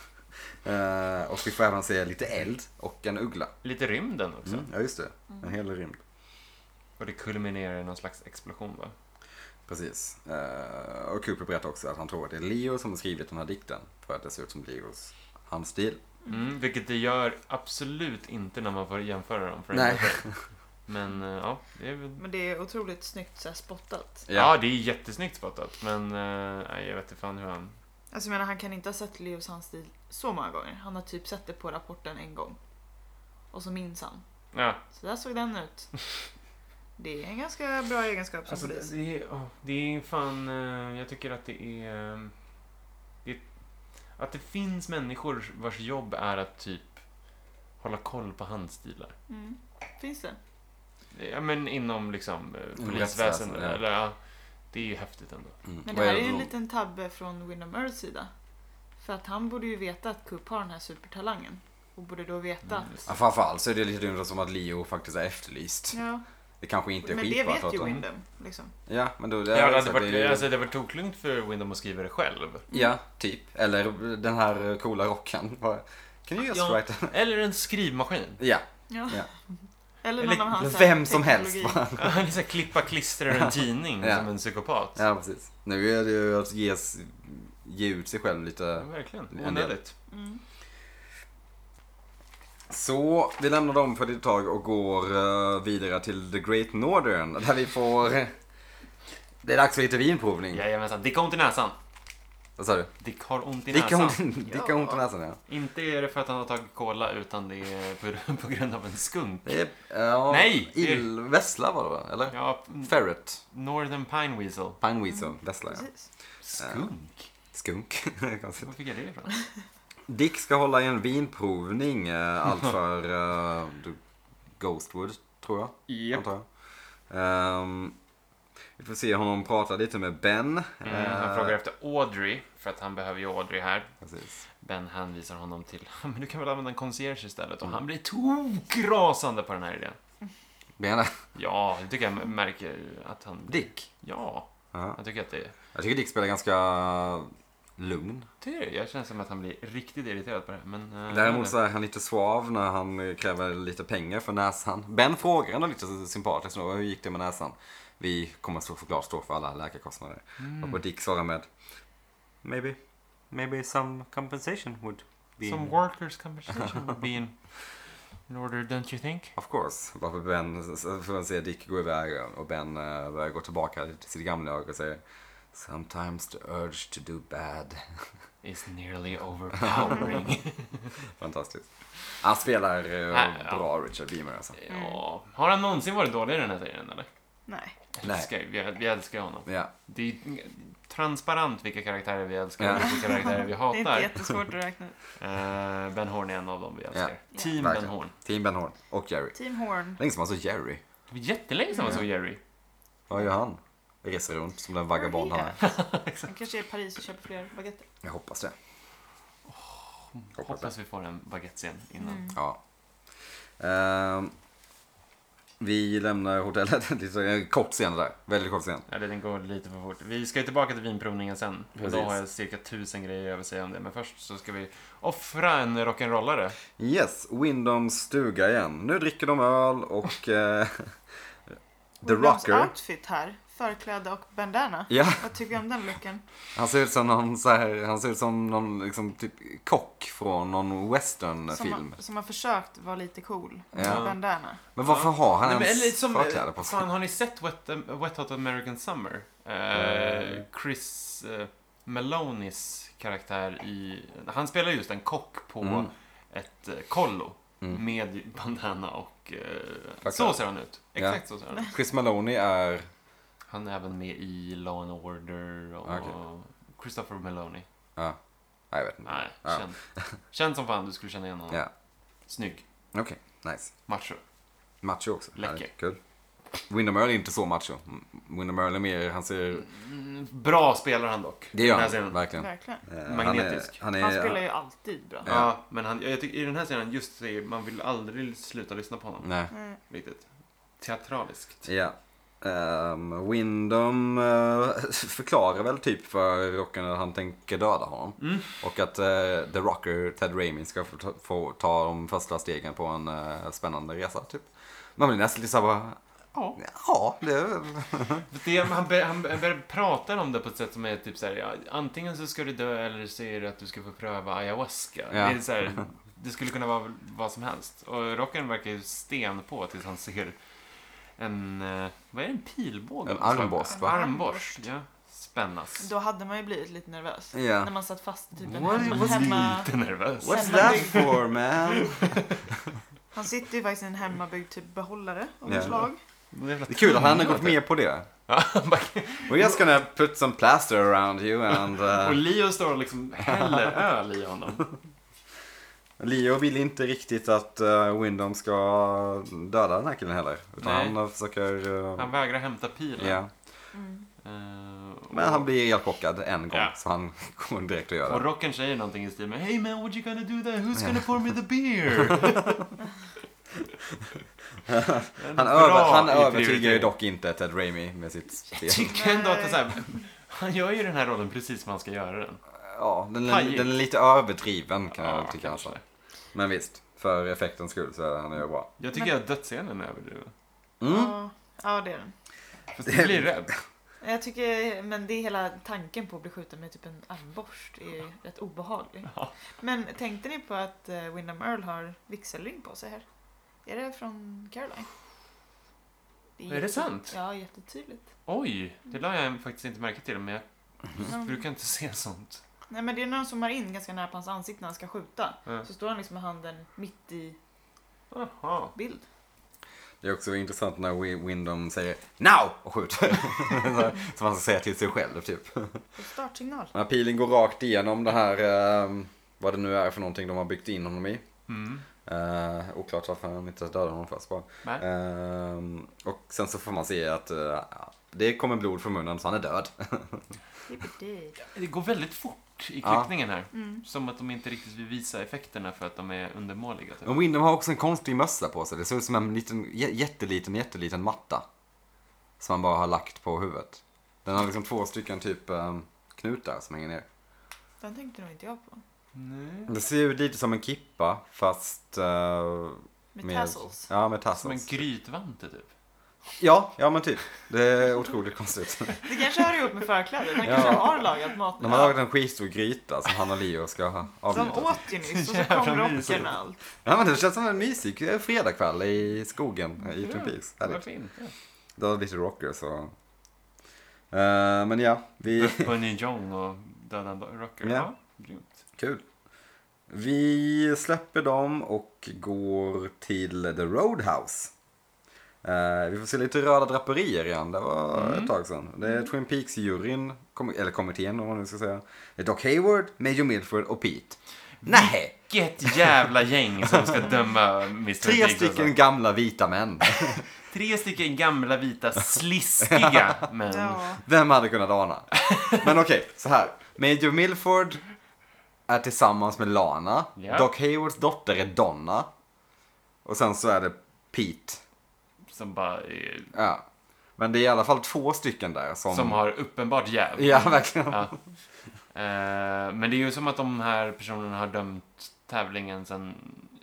Eh, och vi får även se lite eld och en uggla. tiden. Lite rymden också. Mm, ja, just det. En hel rymd. Och det kulminerar i någon slags explosion va? Precis. Eh, och Cooper berättar också att han tror att det är Leo som har skrivit den här dikten. För att det ser ut som Leos handstil. Mm, vilket det gör absolut inte när man får jämföra dem. För en Nej. gång. Men eh, ja, det är väl... Men det är otroligt snyggt så här spottat. Ja. det är jättesnyggt spottat. Men eh, nej, jag vet inte fan hur han... Alltså jag menar han kan inte ha sett Leos handstil så många gånger. Han har typ sett det på rapporten en gång. Och så minns han. Ja, Så där såg <laughs> den ut. Det är en ganska bra egenskap som alltså, polis. det, det, är, åh, det är fan... eh, jag tycker att det är... eh, det, att det finns människor vars jobb är att typ hålla koll på handstilar. Mm. Finns det? Ja, men inom liksom eh, Inom polisväsendet. rättsväsendet, ja. Eller, ja, det är ju häftigt ändå. Mm. Men det Vad här är det ju en då? liten tabbe från Windom Earls sida. För att han borde ju veta att Coop har den här supertalangen. Och borde då veta Mm, att... Ja, framförallt så är det lite undrat som att Leo faktiskt är efterlyst. Ja, Det kanske inte är men det skitbra att vet ju prata om. Windom. Liksom. Ja, men då... Ja, det hade exakt, varit, är ju- alltså, det hade varit toklugnt för Windom att skriva det själv. Ja, typ. Eller den här coola rocken. <laughs> Bara, Can you just Ja. write a-" Eller <laughs> en skrivmaskin. Ja, Ja. Ja. <laughs> Eller någon Eller av hans vem som helst. teknologi. bara. Han liksom klippa, klistra en tidning Ja. som en psykopat. Ja, precis. Nu är det ju att ges, ge ut sig själv Ja, lite. verkligen. En Onödigt. Mm. Så vi lämnar dem för ett tag och går eh, vidare till The Great Northern. Där vi får... Det är dags för lite vinprovning. Jajamensan. Dick har ont i näsan. Vad sa du? Dick har ont i Dicka näsan. ont, <laughs> dicka ont i näsan, ja. Inte är det för att han har tagit cola, utan det är <laughs> på, på grund av en skunk. Det är, ja, Nej! Ill, vessla var det va? Eller? Ja, Ferret. Northern Pine Weasel. Pine weasel. Vessla, ja. Precis. Skunk? Skunk. <laughs> Konstigt. Var fick jag det ifrån? Dick ska hålla i en vinprovning eh, <laughs> allt för eh, Ghostwood, tror jag. Japp. Antar jag. Ehm, vi får se honom prata lite med Ben. Mm, han Eh, frågar efter Audrey, för att han behöver ju Audrey här. Precis. Ben hänvisar honom till, <laughs> men du kan väl använda en concierge istället? Och han blir tokrasande på den här idén. Menar Ja, det tycker jag märker att han... Dick? Ja, Ja. jag tycker att det är... Jag tycker Dick spelar ganska lugn. Tycker det. Jag känner som att han blir riktigt irriterad på det här, men... eh, Däremot så är han lite svav när han eh, kräver lite pengar för näsan. Ben frågar ändå lite sympatiskt då, hur gick det med näsan? Vi kommer så- såklart stå för alla läkarkostnader. Mm. Och Dick svarar med Maybe, maybe some compensation would be... Some workers conversation would be in, in order, don't you think? Of course. Varför Ben, så får man se Dick gå iväg och Ben eh, börjar gå tillbaka till sitt gamla jag och säger Sometimes the urge to do bad. Is nearly <laughs> overpowering. Fantastiskt. Han spelar Nej, eh, ja. bra Richard Beamer alltså. ja. Har han någonsin varit dålig i den här serien, eller? Nej. Nej. Älskar, ju- vi, vi älskar ju honom. Ja, Det är ju transparent vilka karaktärer vi älskar Ja. och vilka karaktärer <laughs> vi Det är inte hatar. jättesvårt att räkna ut. Eh, ben Horn är en av dem vi älskar. Ja. Team Ben Verkligen. Horn. <laughs> Team Ben Horn och Jerry. Team Horn. Länge som alltså Jerry. Det var jättelänge sedan man <laughs> såg Jerry. Vad gör han? Reser runt som den vagabond han är. Han kanske är i Paris och köper fler baguetter. Jag hoppas det. Hoppas det. Hoppas vi får en baguette-scen innan. Ja. Ehm, vi lämnar hotellet. <laughs> Lite en kort scen där. Väldigt kort scen. Ja, den går lite för fort. Vi ska ju tillbaka till vinprovningen sen. Och Då Precis. har jag cirka tusen grejer jag vill säga om det. Men först så ska vi offra en rock'n'rollare. Yes, Windoms stuga igen. Nu dricker de öl och... eh, <laughs> The Williams Rocker. outfit här. Förkläde och bandana. Ja, Vad tycker du om den looken? han ser ut som någon så här, han ser ut som någon liksom typ kock från någon Som, westernfilm. har, som har försökt vara lite cool. Med Ja. bandana. Men varför har han Nej, men ens eller som- förkläde på sig? Fan, har ni sett Wet, um, Wet Hot American Summer? Eh, Chris eh, Melonis karaktär i... Han spelar just en kock på Mm. ett eh, kollo. Mm. Med bandana och... Eh, Tack. så ser han ut. Ja. Exakt så ser han ut. Chris Maloney är... Han är även med i Law and Order och Ah, Okej. Christopher Meloni. Ja, nej, jag vet inte. Nej, Ja. känd. känd som fan. Du skulle känna igen honom. Ja. Snygg. Okej, nice. Macho. Macho också. Läcker. Härligt, Kul. Windham Earl är inte så macho. Windham Earl är mer, han ser... Mm, Bra spelar han dock. Det i gör den här han, scenen. verkligen. Verkligen. Eh, Magnetisk. Han, är, Han han, spelar är, ju alltid bra. Ja. Ja, men han, jag tycker i den här scenen, just det, man vill aldrig sluta lyssna på honom. Nej. Mm. Riktigt. Teatraliskt. Ja. Um, Windom eh, förklarar väl typ för Rocken att han tänker döda honom. Mm. Och att eh, The Rocker, Ted Raimi, ska få ta, få ta de första stegen på en eh, spännande resa typ. Man blir nästan lite såhär Ja. ja, det är väl... Det, han börjar han börjar prata om det på ett sätt som är typ såhär, ja, antingen så ska du dö eller så är det att du ska få pröva ayahuasca. Ja. Det, är så här, det skulle kunna vara vad som helst. Och rocken verkar ju sten på tills han ser en, eh, vad är det, en pilbåge? En av något slag? armborst, En va? Armborst, ja. Spännas. Då hade man ju blivit lite nervös. Ja. När man satt fast i typ en What- hemma... what's hemma Lite nervös. What's that for man? han sitter ju faktiskt i en hemmabyggd typ behållare av Ja. något slag. <laughs> Det är kul att han har gått med på det. <laughs> We're just gonna put some plaster around you <laughs> and... Och eh, Leo står och liksom häller öl i honom. Leo vill inte riktigt att uh, Windom ska döda den här killen heller. Utan Nej. han försöker... eh, Han vägrar hämta pilen. ja. Mm. Eh, och- Men han blir elchockad en gång Ja. så han <laughs> går direkt och gör Och det. rocken säger någonting i stil med Hey man, what you gonna do there? <laughs> Who's gonna pour me the beer? Han, Bra över, han i övertygar ju prioritering. typ. dock inte Ted Raimi med sitt spel. Jag tycker ändå att det är så här, han gör ju den här rollen precis som han ska göra den. Ja, den är, Pajigt. den är lite överdriven kan Ja, jag tycka. kanske. Alltså. Men visst, för effektens skull så är han ju bra. Jag tycker att dödsscenen är överdriven. Mm. Ja, ja, det är den. Fast jag blir rädd. Jag tycker, men det är hela tanken på att bli skjuten med typ en armborst är ju rätt obehaglig. Ja. Men tänkte ni på att eh, Windham Earl har vigselring på sig här? Är det från Caroline? Är det jätte- sant? <laughs> Ja, jättetydligt. Oj, det la jag faktiskt inte märke till, men jag brukar inte se sånt. Nej men det är när de zoomar in ganska nära på hans ansikte när han ska skjuta. Ja. Så står han liksom med handen mitt i Jaha. bild. Det är också intressant när Wi- Windom säger NOW! och <laughs> skjuter. Som han ska säga till sig själv typ. Och startsignal. Den här pilen går rakt igenom det här, eh, vad det nu är för någonting de har byggt in honom i. Mm. Eh, oklart varför han inte dödade honom först bara. Nej. Ehm, och sen så får man se att eh, ja, det kommer blod från munnen så han är död. <laughs> Yippee. Det går väldigt fort i Ja. klippningen här. Mm. Som att de inte riktigt vill visa effekterna för att de är undermåliga. Typ. Men Windham har också en konstig mössa på sig. Det ser ut som en liten, jä- jätteliten, jätteliten matta. Som han bara har lagt på huvudet. Den har liksom två stycken typ eh, knutar som hänger ner. Den tänkte nog inte jag på. Nej. Det ser ut lite som en kippa fast... eh, Med tassels. Ja, med Som en tassels. grytvante typ. Ja, ja men typ. Det är otroligt konstigt. Det kanske hör ihop med förklädet. Han Ja. kanske har lagat mat nu. De har lagat en skitstor gryta som han och Leo ska ha De avnjuta. åt ju nyss och så <laughs> Jävla kom mysigt. rocken och allt. Ja men det känns som en mysig eh, fredagkväll i skogen eh, i Twin Peaks. Härligt. Varför inte? Det var lite rocker så. Eh, men <laughs> ja, vi... Bunny Jong och Döda Rocker. Ja. Ja, grymt. Kul. Vi släpper dem och går till The Roadhouse. Eh, vi får se lite röda draperier igen, det var Mm. ett tag sedan. Det är Twin Peaks-juryn, kom- eller kommittén om man nu ska säga. Det är Doc Hayward, Major Milford och Pete. Mm. Nej! Vilket jävla gäng <laughs> som ska döma Mr. Tre Biggs, alltså. stycken gamla vita män. Tre stycken gamla <laughs> vita sliskiga män. Ja. Vem hade kunnat ana? <laughs> Men okej, så här. Major Milford är tillsammans med Lana. Ja. Doc Haywards dotter är Donna. Och sen så är det Pete. Som bara... eh, Ja. Men det är i alla fall två stycken där som... Som har uppenbart jäv. Ja, verkligen. Ja. Eh, men det är ju som att de här personerna har dömt tävlingen sedan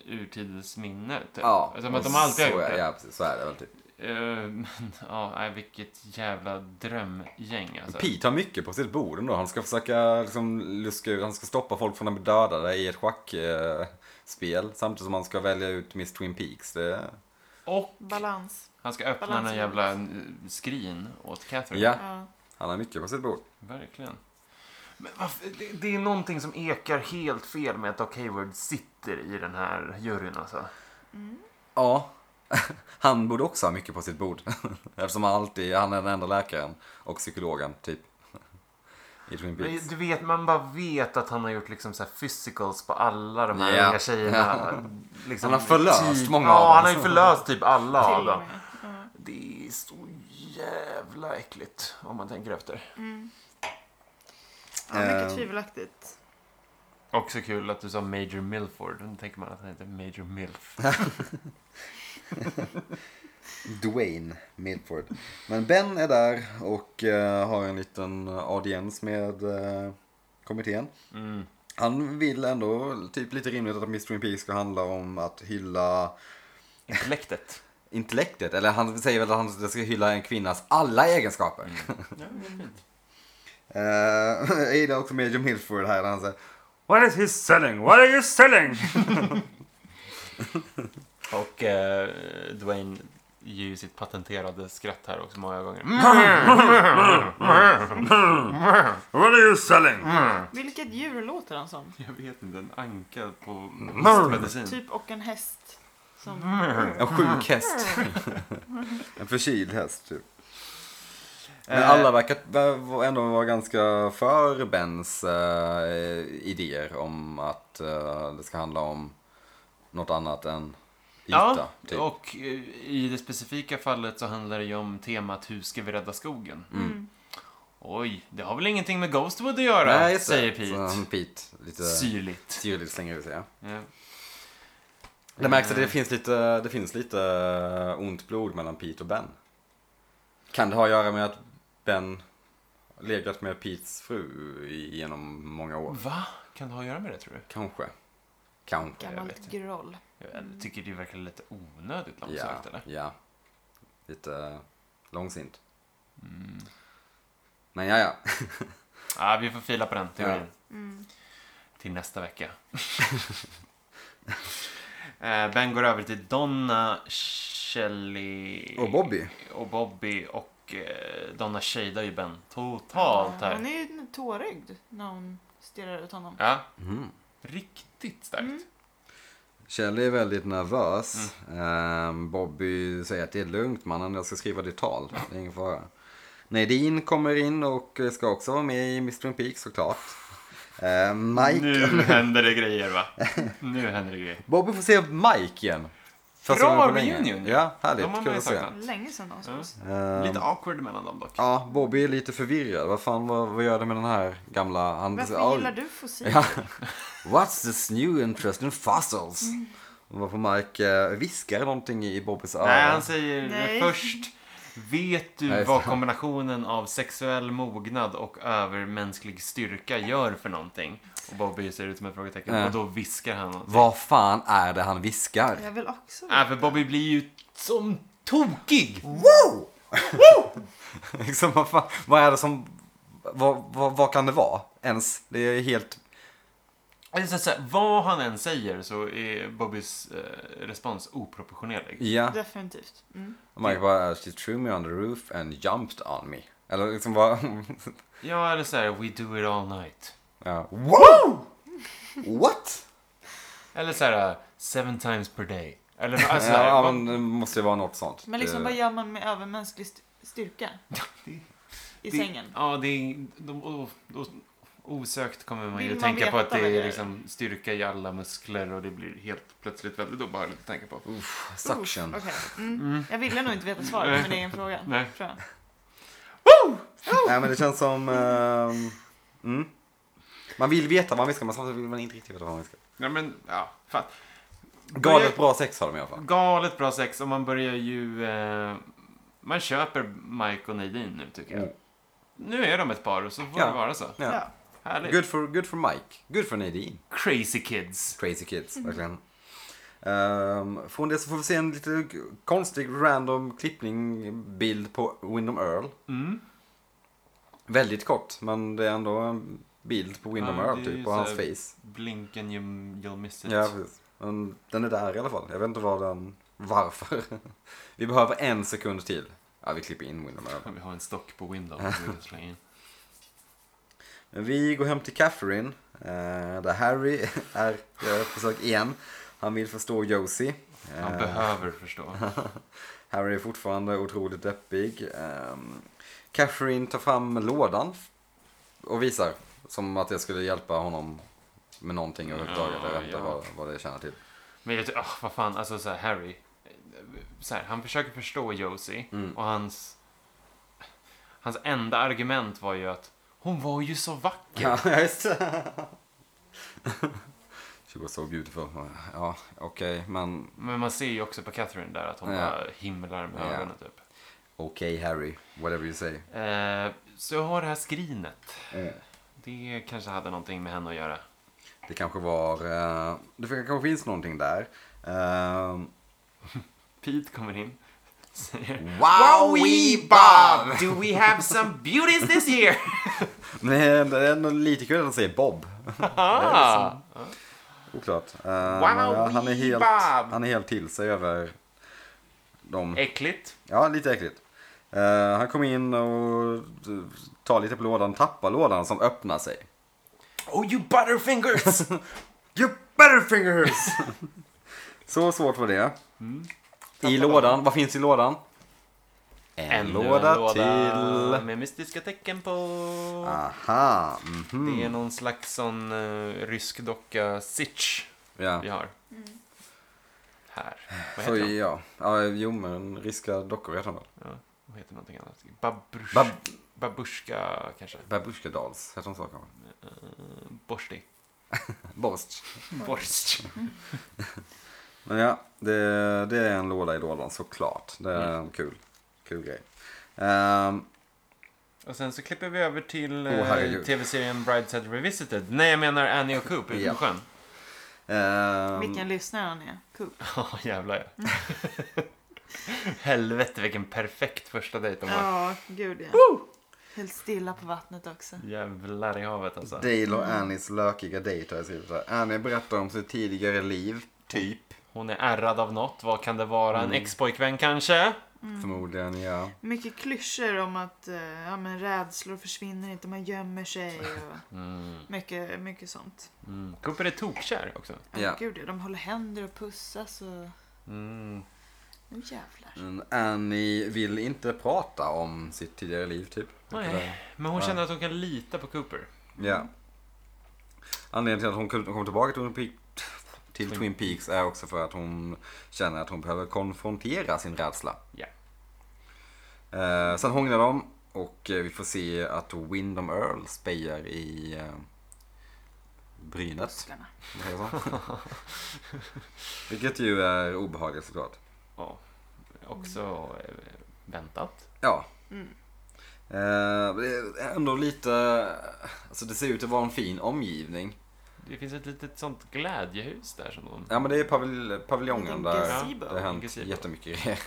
urtidens minne. Typ. Ja. Som att de alltid har så gjort är, det. Ja, precis. Så är det väl typ. Eh, men ja, nej, vilket jävla drömgäng alltså. Pete har mycket på sitt bord ändå. Han ska försöka liksom luska ut, han ska stoppa folk från att bli dödade i ett schackspel. Eh, spel, samtidigt som han ska välja ut Miss Twin Peaks. Det... Och Balans. han ska öppna Balans- någon jävla eh, skrin åt Catherine. Ja, Ja. han har mycket på sitt bord. Verkligen. Men varför, det, det är någonting som ekar helt fel med att Doc Hayward sitter i den här juryn alltså. Ja. <laughs> Han borde också ha mycket på sitt bord. <laughs> Eftersom han alltid, han är den enda läkaren och psykologen, typ. <laughs> I Twin Men Peaks. Du vet, man bara vet att han har gjort liksom så här physicals på alla de här Ja. unga tjejerna. Liksom Han har förlöst många ja, av dem. Ja, han har ju förlöst typ alla av Till och dem. med. Ja. Det är så jävla äckligt om man tänker efter. Mm. Ja, mycket Eh. tvivelaktigt. Också kul att du sa Major Milford. Nu tänker man att han heter Major Milf. Dwayne Milford. Men Ben är där och eh, har en liten audiens med eh, kommittén. Mm. Han vill ändå, typ lite rimligt att Miss Twin Peaks ska handla om att hylla Intellektet. intellektet. Eller han säger väl att han ska hylla en kvinnas alla egenskaper. Eh, <laughs> Ada och Major Milford här, han säger What is he selling? What are you selling? Och eh, Dwayne ger ju sitt patenterade skratt här också många gånger. Mm. What are you selling? Vilket djur låter han som? Jag vet inte, en anka på Mm. medicin. Typ och en häst. Som... Mm. Mm, En sjuk häst. <laughs> en förkyld häst, typ. Men Eh, alla verkar ver- ändå vara ganska för Bens eh, idéer om att eh, det ska handla om något annat än yta. Ja, typ. och eh, i det specifika fallet så handlar det ju om temat Hur ska vi rädda skogen? Mm. Oj, det har väl ingenting med Ghostwood att göra? Nej, just det. säger Så han, Pete. Pete lite Syrligt. Eh, syrligt slänger ut sig. ja. Ja. Det märks att det Mm. finns lite, det finns lite eh, ont blod mellan Pete och Ben. Kan det ha att göra med att Ben legat med Petes fru i- genom många år? Va? Kan det ha att göra med det tror du? Kanske. Kanske. Jag vet Gammalt inte. groll. Jag tycker det verkar lite onödigt Ja, långsökt eller? ja. Lite eh, långsint. Mm. Men ja, ja. Ja, vi får fila på den teorin. Mm. Till nästa vecka. <laughs> Eh, ben går över till Donna, Shelly Och Bobby. och Bobby och eh, Donna shadar ju Ben totalt Hon här. är ju tårögd när hon stirrar ut honom. Ja, Mm. riktigt starkt. Kjell är väldigt nervös. Mm. Ehm, Bobby säger att det är lugnt mannen, jag ska skriva ditt tal. Det är ingen fara. Nadine kommer in och ska också vara med i Mr. Peak såklart. Ehm, Mike. Nu händer det grejer <laughs> va? Nu händer det grejer. Bobby får se Mike igen. Första Bra gången på länge. reunion ju. Ja, härligt. De har man Kul ju att se. saknat. Länge sedan de sågs. Mm. Ehm, Lite awkward mellan dem dock. Ja, Bobby är lite förvirrad. Vad fan, vad, vad gör det med den här gamla... Han, Varför Ja, gillar du fossiler? <laughs> Ja. What's this new interest in fossils? Mm. Varför Mike eh, viskar någonting i Bobbys öra. Nej, han säger Nej. först. Vet du Nej, vad fan. kombinationen av sexuell mognad och övermänsklig styrka gör för någonting? Och Bobby ser ut som ett frågetecken Ja. och då viskar han någonting. Vad fan är det han viskar? Jag vill också Nej, för Bobby blir ju som tokig! Wow! <laughs> liksom, vad, fan, vad är det som... Vad, vad, vad kan det vara ens? Det är helt... Alltså, så här, vad han än säger så är Bobbys eh, respons oproportionerlig. Ja. Definitivt. Mm. Mike bara, she threw me on the roof and jumped on me. Eller liksom bara... Ja, eller så här, we do it all night. <laughs> ja. Wow! What? Eller så här, seven times per day. Eller alltså, ja, vad- men det måste ju vara något sånt. eh, Men liksom, Det- vad gör man med övermänsklig st- styrka Eh. det- i Det- sängen? Ja, det är, de, o- o- osökt kommer man ju Vill att man tänka på att veta det vad det är är? liksom styrka i alla muskler och det blir helt plötsligt väldigt obehagligt att tänka på. Uff, suction. Uff, okej. mm. Jag ville nog inte veta svaret på min egen fråga. Nej. Tror jag. Nej men det känns som... ehm, mm. Man vill veta vad man viskar men samtidigt vill man inte riktigt veta vad man viskar. Ja, men ja, fan. Galet bra sex har de i alla fall. Galet bra sex och man börjar ju... Eh, man köper Mike och Nadine nu tycker jag. Mm. Nu är de ett par och så får Ja. det vara så. Ja. Härligt. Good, for, good for Mike. Good for Nadine. Crazy kids. Crazy kids, Mm. verkligen. Ehm, från det så får vi se en lite konstig random klippning bild på Windom Earl. Mm. Väldigt kort men det är ändå en bild på Windom Ja, det Earl är typ ju och så hans här- face. Blink and you, you'll miss it. Ja precis. Men den är där i alla fall. Jag vet inte vad den... Varför? <laughs> vi behöver en sekund till. Ja vi klipper in Windom Earl. Vi har en stock på <laughs> Windows. som vi kan slänga in. Men Vi går hem till Catherine, eh, där Harry <laughs> är, gör ett försök igen. Han vill förstå Josie. Eh, Han behöver <laughs> förstå. Harry är fortfarande otroligt deppig. Eh, Catherine tar fram lådan och visar, som att det skulle hjälpa honom med någonting överhuvudtaget. Jag vet inte Ja, ja. vad, vad det tjänar till. Men jag ty- ah, vad fan, alltså så här, Harry. så här, han försöker förstå Josie Mm. och hans, hans enda argument var ju att hon var ju så vacker. Ja, just det. <laughs> She was so beautiful. Ja, okej, men Men man ser ju också på Catherine där att hon Ja. bara himlar med Ja. ögonen typ. okej Harry, whatever you say. Eh, så jag har det här skrinet. Mm. Det kanske hade någonting med henne att göra. Det kanske var, eh, det kanske finns någonting där. Eh, Pete kommer in. Säger, Wowie Bob! Do we have some beauties <laughs> this year? Men det är ändå lite kul att han säger Bob. ah. Oklart. Eh, men ja, han, är helt, Bob! han är helt till sig över dem. Ah, Äckligt. Ja, lite äckligt. Eh, han kommer in och eh, tar lite på lådan, tappar lådan som öppnar sig. Oh you butterfingers! You butterfingers! <laughs> Så svårt var det. Mm. I lådan, vad finns i lådan? En, låda, till. Ah, Med mystiska tecken på. Aha, mhm. Det är någon slags sån eh, rysk docka sitch Ja. vi har. Mm. Här. Vad Så heter den? ja, ja jo men ryska dockor heter han väl? Ja, vad heter någonting annat? Babrush... Bab- Babushka kanske? Babusjkedals, heter de så kanske? Uh, borsti. Borst. Borst. Men ja, det, det är en låda i lådan såklart. Det är en kul, kul grej. Ehm, Och sen så klipper vi över till Åh, eh, herregud. tv-serien Brideshead Revisited. Nej, jag menar Annie och Coop ute Ja. på sjön. ehm, Vilken lyssnare han är. Coop. <laughs> Ja, jävlar ja. <laughs> Helvete vilken perfekt första dejt de har. Ja, gud ja. Helt stilla på vattnet också. Jävlar i havet alltså. Dale och Annies lökiga dejt har jag skrivit här. Annie berättar om sitt tidigare liv, typ. Hon är ärrad av något. Vad kan det vara? En ex-pojkvän kanske? Förmodligen, ja. Mycket klyschor om att eh, ja, men rädslor försvinner inte, man gömmer sig och Mm. mycket, mycket sånt. Mm. Cooper är tokkär också. Ja, Ja. Gud ja, de håller händer och pussas och... Mm. Nu jävlar. Men Annie vill inte prata om sitt tidigare liv, typ. Nej, men hon känner att hon kan lita på Cooper. Ja. Anledningen till att hon kunde- kom tillbaka till Twin, Peaks, till Twin Peaks är också för att hon känner att hon behöver konfrontera sin rädsla. Ja. Eh, sen hånglar de och eh, vi får se att Windom Earl spejar i eh, brynet. Buskarna. om man säger så. Vilket ju är obehagligt såklart. Ja. Också eh, väntat. Ja. Mm. Eh, men det är ändå lite, alltså det ser ut att vara en fin omgivning. Det finns ett litet sånt glädjehus där som de... Ja men det är pavil- paviljongen En där gazebo. det har hänt Gazebo. jättemycket grejer.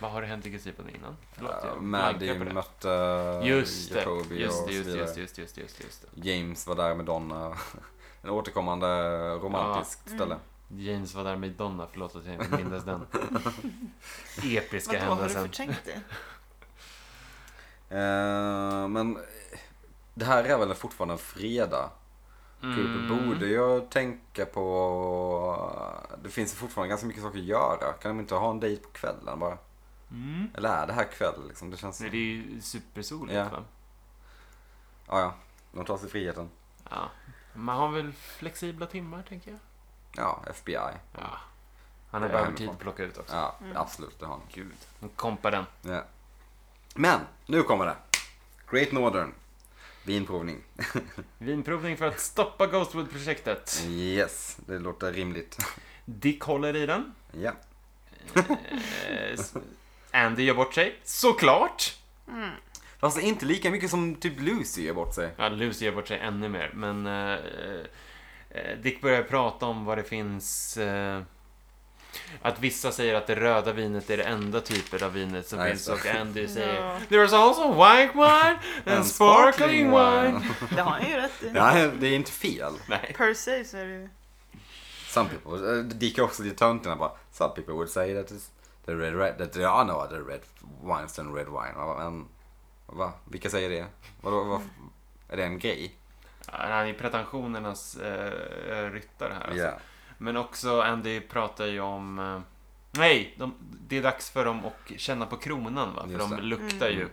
Vad har det hänt i Gazebon innan? Förlåt, Eh, jag blankar Maddie på det. mötte Just det, Jacobi just och det, så just det, vidare. just det, just det, just det, just det, just det. James var där med Donna. <laughs> En återkommande romantisk Ja. ställe. James var där med Donna, förlåt att jag inte mindes <laughs> den. Episka Vadå, har du händelsen. förträngt det? Mm. Eh, men det här är väl fortfarande en fredag. Cooper Mm. borde ju tänka på... Det finns ju fortfarande ganska mycket saker att göra. Kan de inte ha en dejt på kvällen bara? Mm. Eller är det här kväll liksom? Det känns... Nej, det är ju supersoligt Ja. va? Ja, ja. De tar sig friheten. Ja. Man har väl flexibla timmar, tänker jag. Ja, FBI. Ja. Han har Det är behöver hemifrån. tid att plocka ut också. Ja, absolut. Det har han. Gud. Han kompar den. Ja. Men, nu kommer det. Great Northern. Vinprovning. Vinprovning för att stoppa Ghostwood-projektet. Yes, det låter rimligt. Dick håller i den. Ja. Eh, s- Andy gör bort sig. Såklart! Fast det är inte lika mycket som typ Lucy gör bort sig. Ja, Lucy gör bort sig ännu mer, men... eh, eh, Dick börjar prata om vad det finns... eh, att vissa säger att det röda vinet är det enda typen av vinet som Nej, finns så. och Andy säger Ja. There's also white wine and sparkling wine. Det har han ju rätt i. Nej, det är inte fel. Nej. Per se så är det ju... Some people, eh, Dick är också lite töntig när han bara Some people would say that, it's the red, red, that there are no other red wines than red wine. Man bara, Men, va? Vilka säger det? Vadå, vad, är det en grej? Ja, Han är pretensionernas eh, ryttare här. Alltså. Ja. Men också Andy pratar ju om... eh, Nej, de, det är dags för dem att känna på kronan va? För Just de det. luktar ju. Mm.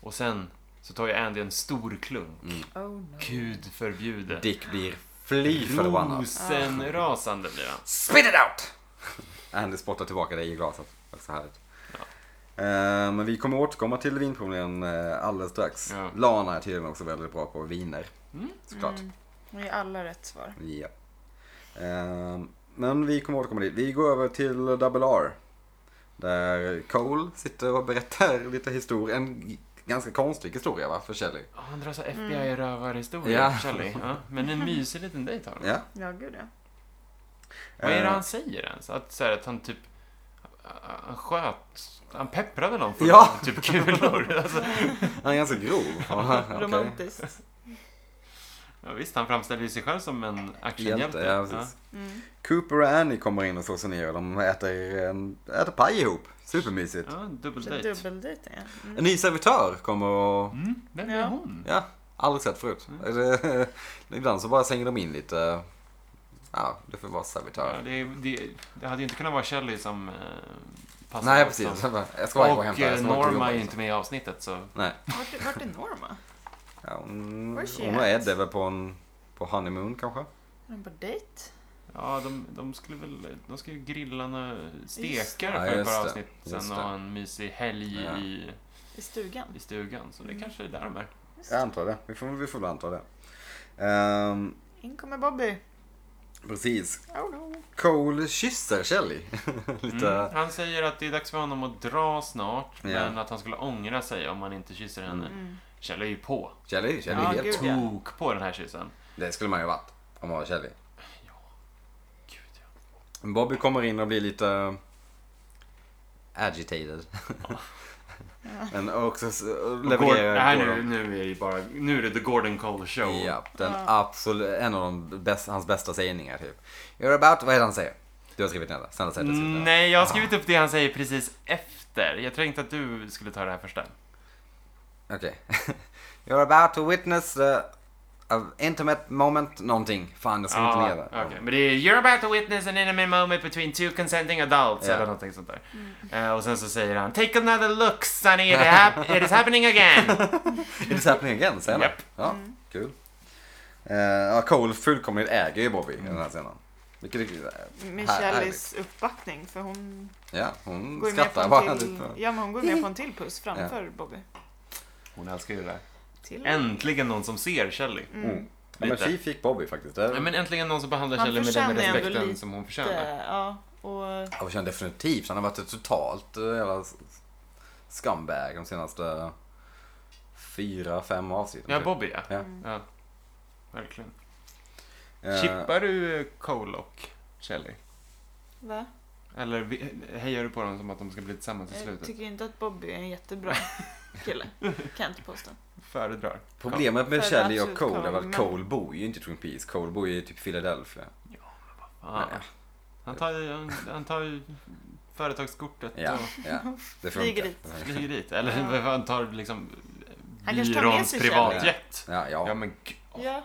Och sen så tar ju Andy en stor klunk. Oh no. Gud förbjude. Dick blir fly förbannad. Rosenrasande blir han. Spit it out! Andy spottar tillbaka dig i glaset. Också härligt. Eh, Men vi kommer återkomma till vinprovningen eh, alldeles strax. Ja. Lana är tydligen också väldigt bra på viner. Mm. Såklart. Mm. Vi är alla rätt svar. Ja. Ehm, Men vi kommer återkomma dit. Vi går över till Double R. Där Cole sitter och berättar lite historia. En g- ganska konstig historia va, för Shelley. Ja, han drar så FBI-rövarhistoria, Ja. ja. Shelley. Ja. Men en mysig liten dejt har de. Ja. Ja, gud ja. Vad är det Eh, han säger ens? Att, så här, att han typ... Han sköt... Han pepprade någon för Ja. <laughs> typ kulor. Alltså, Han är ganska <laughs> grov. Aha, <laughs> okej. Romantiskt. ja, visst, han framställer ju sig själv som en actionhjälte. Hjälte, ja, precis. Mm. Cooper och Annie kommer in och slår sig ner och de äter, en, äter paj ihop. Supermysigt. ja dubbeldejt. Dubbeldejtning ja. En Mm. ny servitör kommer och... Mm, vem är Ja. hon? Ja, aldrig sett förut. Det- <laughs> Ibland så bara slänger de in lite... Ja, det får vara servitör. Ja, det, det, det hade ju inte kunnat vara Shelley som eh, passade Nej, upp precis. som- <laughs> Jag ska bara gå och Och hämta. jag eh, ska bara gå och Norma jobba, är ju liksom. inte med i avsnitt så... Nej. Vart, är- vart är Norma? Ja, hon, Where's she hon och at? Ed är väl på en... På honeymoon kanske? Är de på dejt? Ja, de, de skulle väl... De ska ju grilla några Ja, stekar för ett just par det. avsnitt Just sen och det. ha en mysig helg Ja. i, I stugan? i stugan. Så det Mm. kanske är där de är. Just. Jag antar det. Vi får, vi får väl anta det. Ehm, In kommer Bobby. precis. Oh no. Cole kysser Shelley. <laughs> Lite... Mm. Han säger att det är dags för honom att dra snart, Ja. men att han skulle ångra sig om han inte kysser henne. Mm. Kjell är ju på. Shelley, Shelley Ja, är helt... gud, ja. Tok på den här kyssen. Det skulle man ju ha varit. Om man var Shelley. Gud, ja. Bobby kommer in och blir lite... Agitated. Men också så- Gord- levererar det här på nu, dem. nu är det ju bara... Nu är det The Gordon Cole Show. Ja, den Ja. absolut, en av de bästa, hans bästa sägningar typ. You're about, vad är det han säger? Du har skrivit ner det, snälla säg det. skrivit ner det. Nej, jag har skrivit upp det han säger precis efter. Jag tänkte att du skulle ta det här första. Okej. <laughs> You're about to witness the a intimate moment någonting. Fan, jag skrev inte ner det. okej. Men det är “You're about to witness an intimate moment between two consenting adults” Ja. eller någonting sånt där. Mm. Eh, och sen så säger han “Take another look, Sonny, it, hap- it is <laughs> happening again”. Är det happening again senare? Japp. Ja, kul. Eh, ja, Cole fullkomligt äger ju Bobby i den här scenen. Vilket är Med här- Shellys uppbackning för hon Ja, hon går ju med på skrattar en bara. till, lite. ja, men hon går med på en till puss framför Bobby. Hon älskar ju det där. Till. Äntligen någon som ser Shelly. Mm. Ja, men Lite. Chi fick Bobby faktiskt. Det... Nej, men äntligen någon som behandlar Han Shelly med den förtjänar ju ändå respekten lite- som hon förtjänar. Det- Ja, och Ja, vi känner definitivt. Han har varit ett totalt eh, jävla skambag de senaste fyra, fem avsnitten. Ja, typ. Bobby ja. Ja. ja. Verkligen. Eh, Chippar du Cole och Shelly? va? Eller vi- hejar du på dem som att de ska bli tillsammans i Jag slutet? tycker inte att Bobby är <laughs> en jättebra kille. Kan jag inte påstå. Föredrar. Problemet med För Shelley och absolut Cole är väl Cole, att men- Cole bor ju inte i Twin Peaks. Cole bor ju i typ Philadelphia. Ja. <laughs> Men, Han tar ju, han, han tar ju företagskortet Ja, och ja, det Flyger funkar. dit. flyger dit. Eller Ja. han tar liksom Han kanske tar med byråns sig privatjet. Ja, Ja ja. men gud. Ja,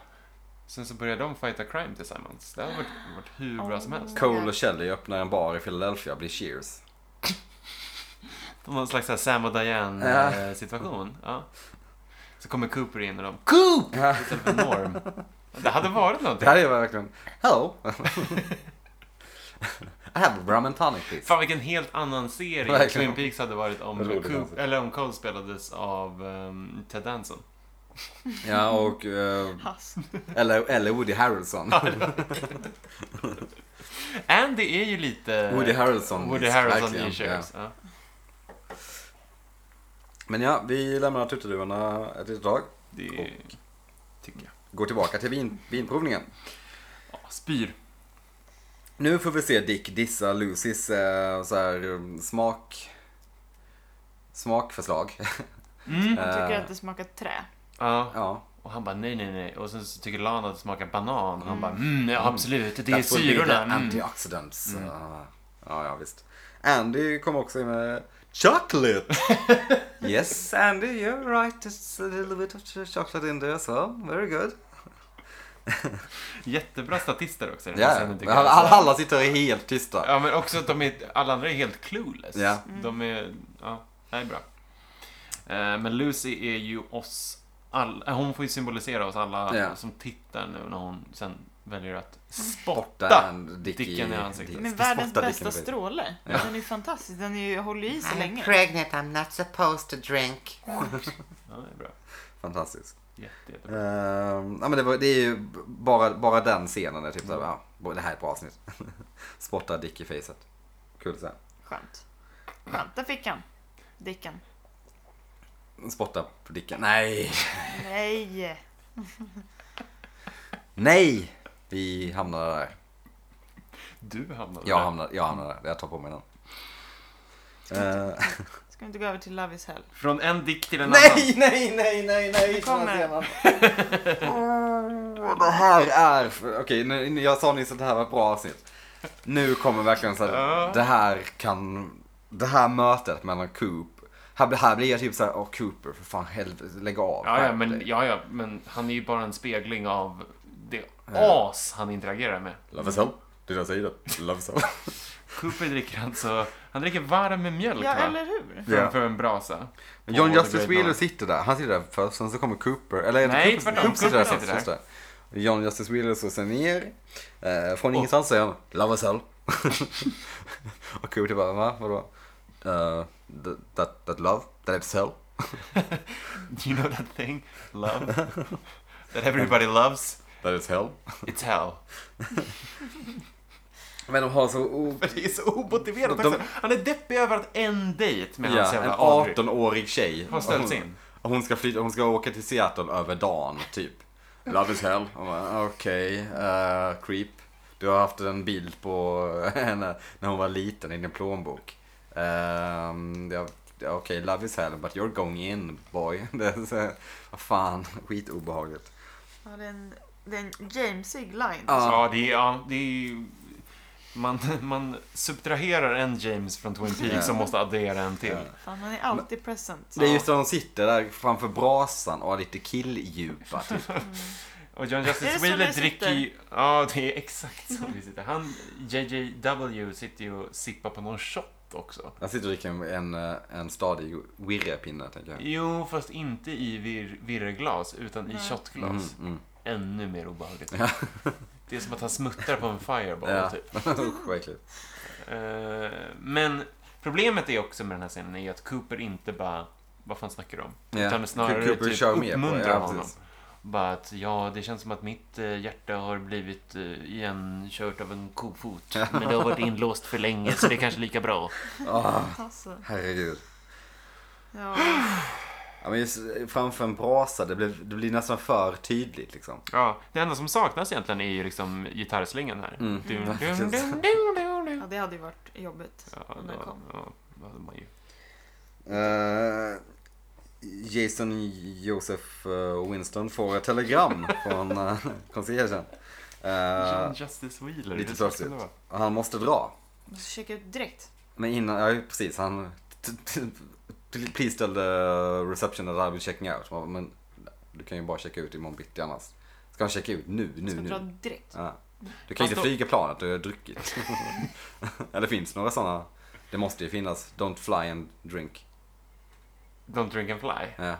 Sen så börjar de fighta crime tillsammans. Det har varit, varit hur bra som helst. Cole och Shelley öppnar en bar i Philadelphia och blir cheers. <laughs> De har någon slags så här Sam och Diane Ja. eh, situation. Ja. Så kommer Cooper in och de Coop! Ja. Istället för Norm. Det hade varit Det någonting. här är ju verkligen... Hello! <laughs> I have a rum and tonic please. Fan vilken helt annan serie Verkligen. alltså. Twin Peaks hade varit Det om, vore Coop, konstigt. eller om Cole spelades av ehm, Ted Danson. Ja, och... eh, pass. eller, eller Woody Harrelson. Andy är ju lite Woody Harrelson. Woody is- Harrelson verkligen, i Cheers. Ja. Men ja, vi lämnar tuttaduvorna ett litet tag. Det tycker jag. Går tillbaka till vin, vinprovningen. Ja, spyr. Nu får vi se Dick dissa Lucys eh, så här, um, smak... Smakförslag. <laughs> Mm. Han tycker Eh. att det smakar trä. Ja, ja. och han bara nej, nej, nej. Och sen så tycker Lana att det smakar banan. Han Mm. bara mm, ja, absolut. Det är That would be the syrorna. Mm. Antioxidants. Mm. Ah, ja, ja, visst. Andy kom också in med <laughs> chocolate. yes, Andy, you're right. It's a little bit of ch- chocolate in there as well. Very good. Jättebra statister också. i den här Ja, scenen, tycker jag. alla, alla sitter helt tysta. Ja, men också att de är, alla andra är helt clueless. Ja. Mm. De är, ja, det här är bra. Eh, Men Lucy eh, är ju oss alla, hon får ju symbolisera oss alla Ja. som tittar nu när hon sen väljer att Mm. Borta spotta en dick Dicken i ansiktet. Med Spotta världens dicken i bästa ansiktet. stråle. Ja. Den är ju fantastisk. Den är ju, håller ju i så I'm länge. pregnant. I'm not supposed to drink. Ja, det är bra. Fantastiskt. Jätte, jättebra. Ehm, ja, men det, var, det är ju b- bara, bara den scenen är typ Mm. såhär, ja, bo- det här är ett bra avsnitt. <laughs> Spotta dick i facet. Kul så här. Skönt. Skönt, där fick han. Dicken. Spotta på dicken. Nej! Nej! Nej! Vi hamnade där. Du hamnade Jag där. hamnade, jag hamnade där. Jag tar på mig den. Ehm, Ska vi inte gå över till Love is hell? Från en dick till en annan. nej, <laughs> nej, nej, nej, nej! kommer den. Åh, det här är... Okej, nu- nu- jag sa nyss att det här var ett bra avsnitt. Nu kommer verkligen så här, Ja. det här kan... Det här mötet mellan Coop. Här, blir- här blir jag typ så här, åh Cooper, för fan helvete, lägg av. Ja, ja, skärp men, dig." ja, ja, men han är ju bara en spegling av det Ja. as han interagerar med. Love is hell. Det är det jag säger. Love is hell. Cooper dricker alltså, han dricker varm med mjölk Ja, va? eller hur? framför en brasa. John På The Justice Great Wheeler North. sitter där. Han sitter där först, sen så kommer Cooper. Eller är det Nej, Cooper, tvärtom. Cooper sitter där Cooper först. sitter Just det. John Justice Wheeler slår sig ner. Eh, från ingenstans säger han Love us all. <laughs> och Cooper bara, va? Vadå? Eh, th- that, that love, that it's hell. Do <laughs> you know that thing? Love? <laughs> That everybody loves? That is hell. It's hell. Men de har så... O- <laughs> Men det är så omotiverat De- också. Han är deppig över att en dejt med hans ja, en Mm. jävla Audrey 18-årig tjej. har ställts in. Och Hon ska, flytta, hon ska åka till Seattle över dagen, typ. Love is hell. Och bara, Okej, eh, creep. Du har haft en bild på <laughs> henne när hon var liten i din plånbok. Ehm, ja, ja, Okej, love is hell, but you're going in boy. <laughs> Det är så, vad fan, skitobehagligt. Ja, det är en, det är en Jamesig line. Ja. Ja, det är, ja, det är ju... Man, man subtraherar en James från Twin Peaks Ja. och måste addera en till. Fan, han är alltid present. Eh, Det är just när de sitter där framför brasan och har lite killdjupa. Typ. <laughs> Mm. <laughs> Och John Är det Justice så ni Wheeler sitter? dricker ju... Ja, det är exakt <laughs> så vi sitter. Han, JJW, sitter ju och sippar på någon shot också. Jag sitter och dricker en, en, eh, en stadig wirrepinne, tänker jag. Jo, fast inte i vir, virreglas, utan i Nej. shotglas. Mm, mm. <laughs> Ännu mer obehagligt. Ja. Det är som att han smuttar på en fireball, Ja. typ. Usch, vad äckligt. Eh, men problemet är också med den här scenen är ju att Cooper inte bara, vad fan snackar du om? Ja. Utan snarare Cooper typ kör med på det, uppmuntrar ja, honom. precis. Bara att, ja, det känns som att mitt eh, hjärta har blivit eh, igenkört av en kofot. Men det har varit inlåst för länge, så det är kanske lika bra. Ah, Alltså, herregud. ja. Ja, men just eh, framför en brasa, det blir, det blir nästan för tydligt liksom. Ja, det enda som saknas egentligen är ju liksom gitarrslingan här. Mm. Dun, Mm. dun, dun, dun, dun, dun. ja, det hade ju varit jobbigt. Ja, då, Om den kom. ja, då hade man ju. Eh, Jason Joseph eh, Winston får ett <laughs> telegram från uh, conciergen. Eh, John Justice lite Wheeler. hur ska det plötsligt. vara? och han måste dra. Måste checka ut direkt. Men innan, ja precis, han... t- t- t- Please tell the reception that I will checking out. Man bara, Men du kan ju bara checka ut imorgon bitti annars. Ska han checka ut nu, nu, Ska dra nu? direkt. Ja. Du kan ju Fast inte då- flyga planet, du har druckit. <laughs> Eller finns det några sådana? Det måste ju finnas. Don't fly and drink. Don't drink and fly. Ja.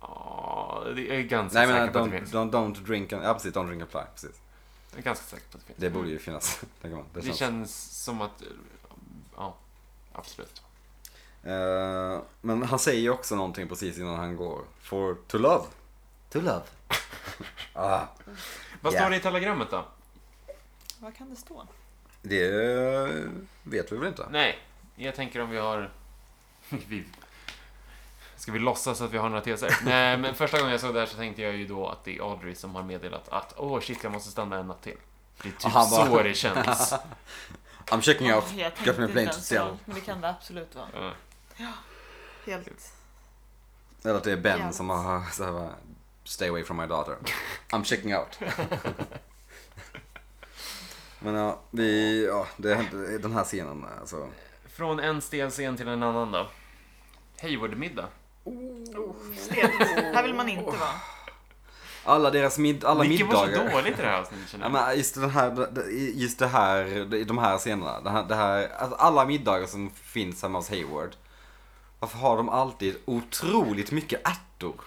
Ja, det är ganska Nej men säker på att det don't, finns. don't, don't drink and, ja precis, don't drink and fly. Precis. Jag är ganska säker på att det finns. Det borde ju finnas, <laughs> tänker man. Det Mm. Det känns. känns som att... Ja, absolut. Eh, men han säger ju också någonting precis innan han går. For to love. To love. <laughs> ah, Vad Ja. står det i telegrammet då? Vad kan det stå? det eh, vet vi väl inte. Nej, jag tänker om vi har... <laughs> Vi... Ska vi låtsas att vi har några <laughs> teser? Nej, men första gången jag såg det här så tänkte jag ju då att det är Audrey som har meddelat att åh oh, shit, jag måste stanna en natt till. Det är typ Och han bara- så <laughs> det känns. I'm checking out. jag Get tänkte me a inte plane to ens så Seattle. långt, men det kan det absolut vara. Ja. Typ. Helt. Eller att det är Ben Jävligt. som har så här, bara, Stay away from my daughter. I'm checking <laughs> out. Men ja, vi, ja, det hände, den här scenen alltså. Från en stel scen till en annan då. Hayward-middag. Stelt. Här vill man inte vara. Alla deras mid, alla Vilket var middagar. så dåligt i det här avsnittet känner Ja, jag. men just, den här, just det här, de här scenerna. Det här, det här, alltså alla middagar som finns hemma hos Hayward. Varför har de alltid otroligt mycket ärtor?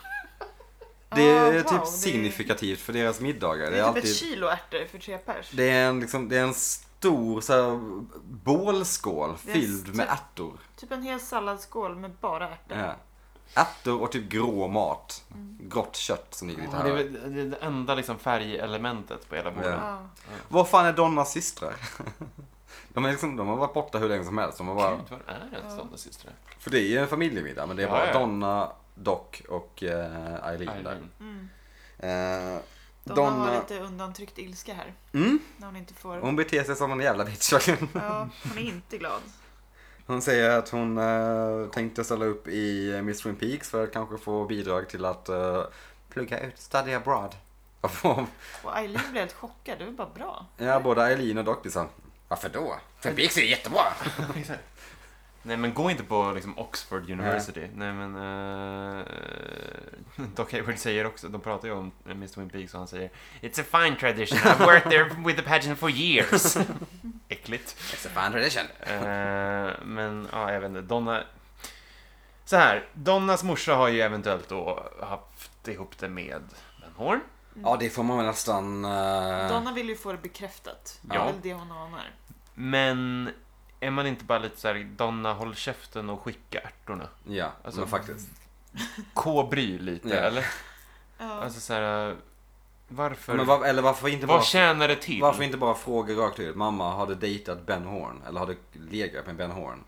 Det är Ah, wow, typ det är- signifikativt för deras middagar. Det Det är är typ alltid... ett kilo ärtor för tre pers. Det är en, liksom, det är en stor så här, bålskål Det är fylld st- med ärtor. Typ en hel salladsskål med bara ärtor. Ja. Ärtor och typ grå mat. Mm. Grått kött som ligger lite Ja, det, är, här. väl- det är det enda liksom färgelementet på hela bordet. Ja. Ja. Vad fan är Donnas systrar? <laughs> De, är liksom, de har varit borta hur länge som helst. De har bara, Gud, vad är ens sådana systrar? för det är ju en familjemiddag, men det är Ja, bara ja. Donna, Doc och eh, Eileen där. Eileen. Mm. Eh, Donna, Donna, har lite undantryckt ilska här. Mm. När hon inte får... hon beter sig som en jävla bitch verkligen. Ja, hon är inte glad. Hon säger att hon eh, tänkte ställa upp i eh, Miss Twin Peaks för att kanske få bidrag till att eh, Plugga ut, study abroad. få- Och Eileen blev helt chockad. Det var bara bra. ja, både Eileen och Doc blir såhär, varför då? Twin Peaks är jättebra! <laughs> Exakt. Nej men gå inte på liksom Oxford University. Nej men... Uh, <laughs> Doc Hayward säger också, de pratar ju om eh, Mr. Twin Peaks och han säger It's a fine tradition, I've worked there with the pageant for years. <laughs> Äckligt. It's a fan tradition. Eh, men ja, jag vet inte. Donna... Så här, Donnas morsa har ju eventuellt då haft ihop det med Ben Horn. Ja, det får man väl nästan... eh, Donna vill ju få det bekräftat. Det Ja. är väl det hon anar. Men är man inte bara lite så här, Donna håll käften och skicka ärtorna? Ja, Alltså- men faktiskt. K-bry lite, Ja. eller? Ja. Alltså så här, varför? Men var, eller varför inte, bara, vad tjänar det till? varför inte bara fråga rakt ut? Mamma, har du dejtat Ben Horn? Eller har du legat med Ben Horn?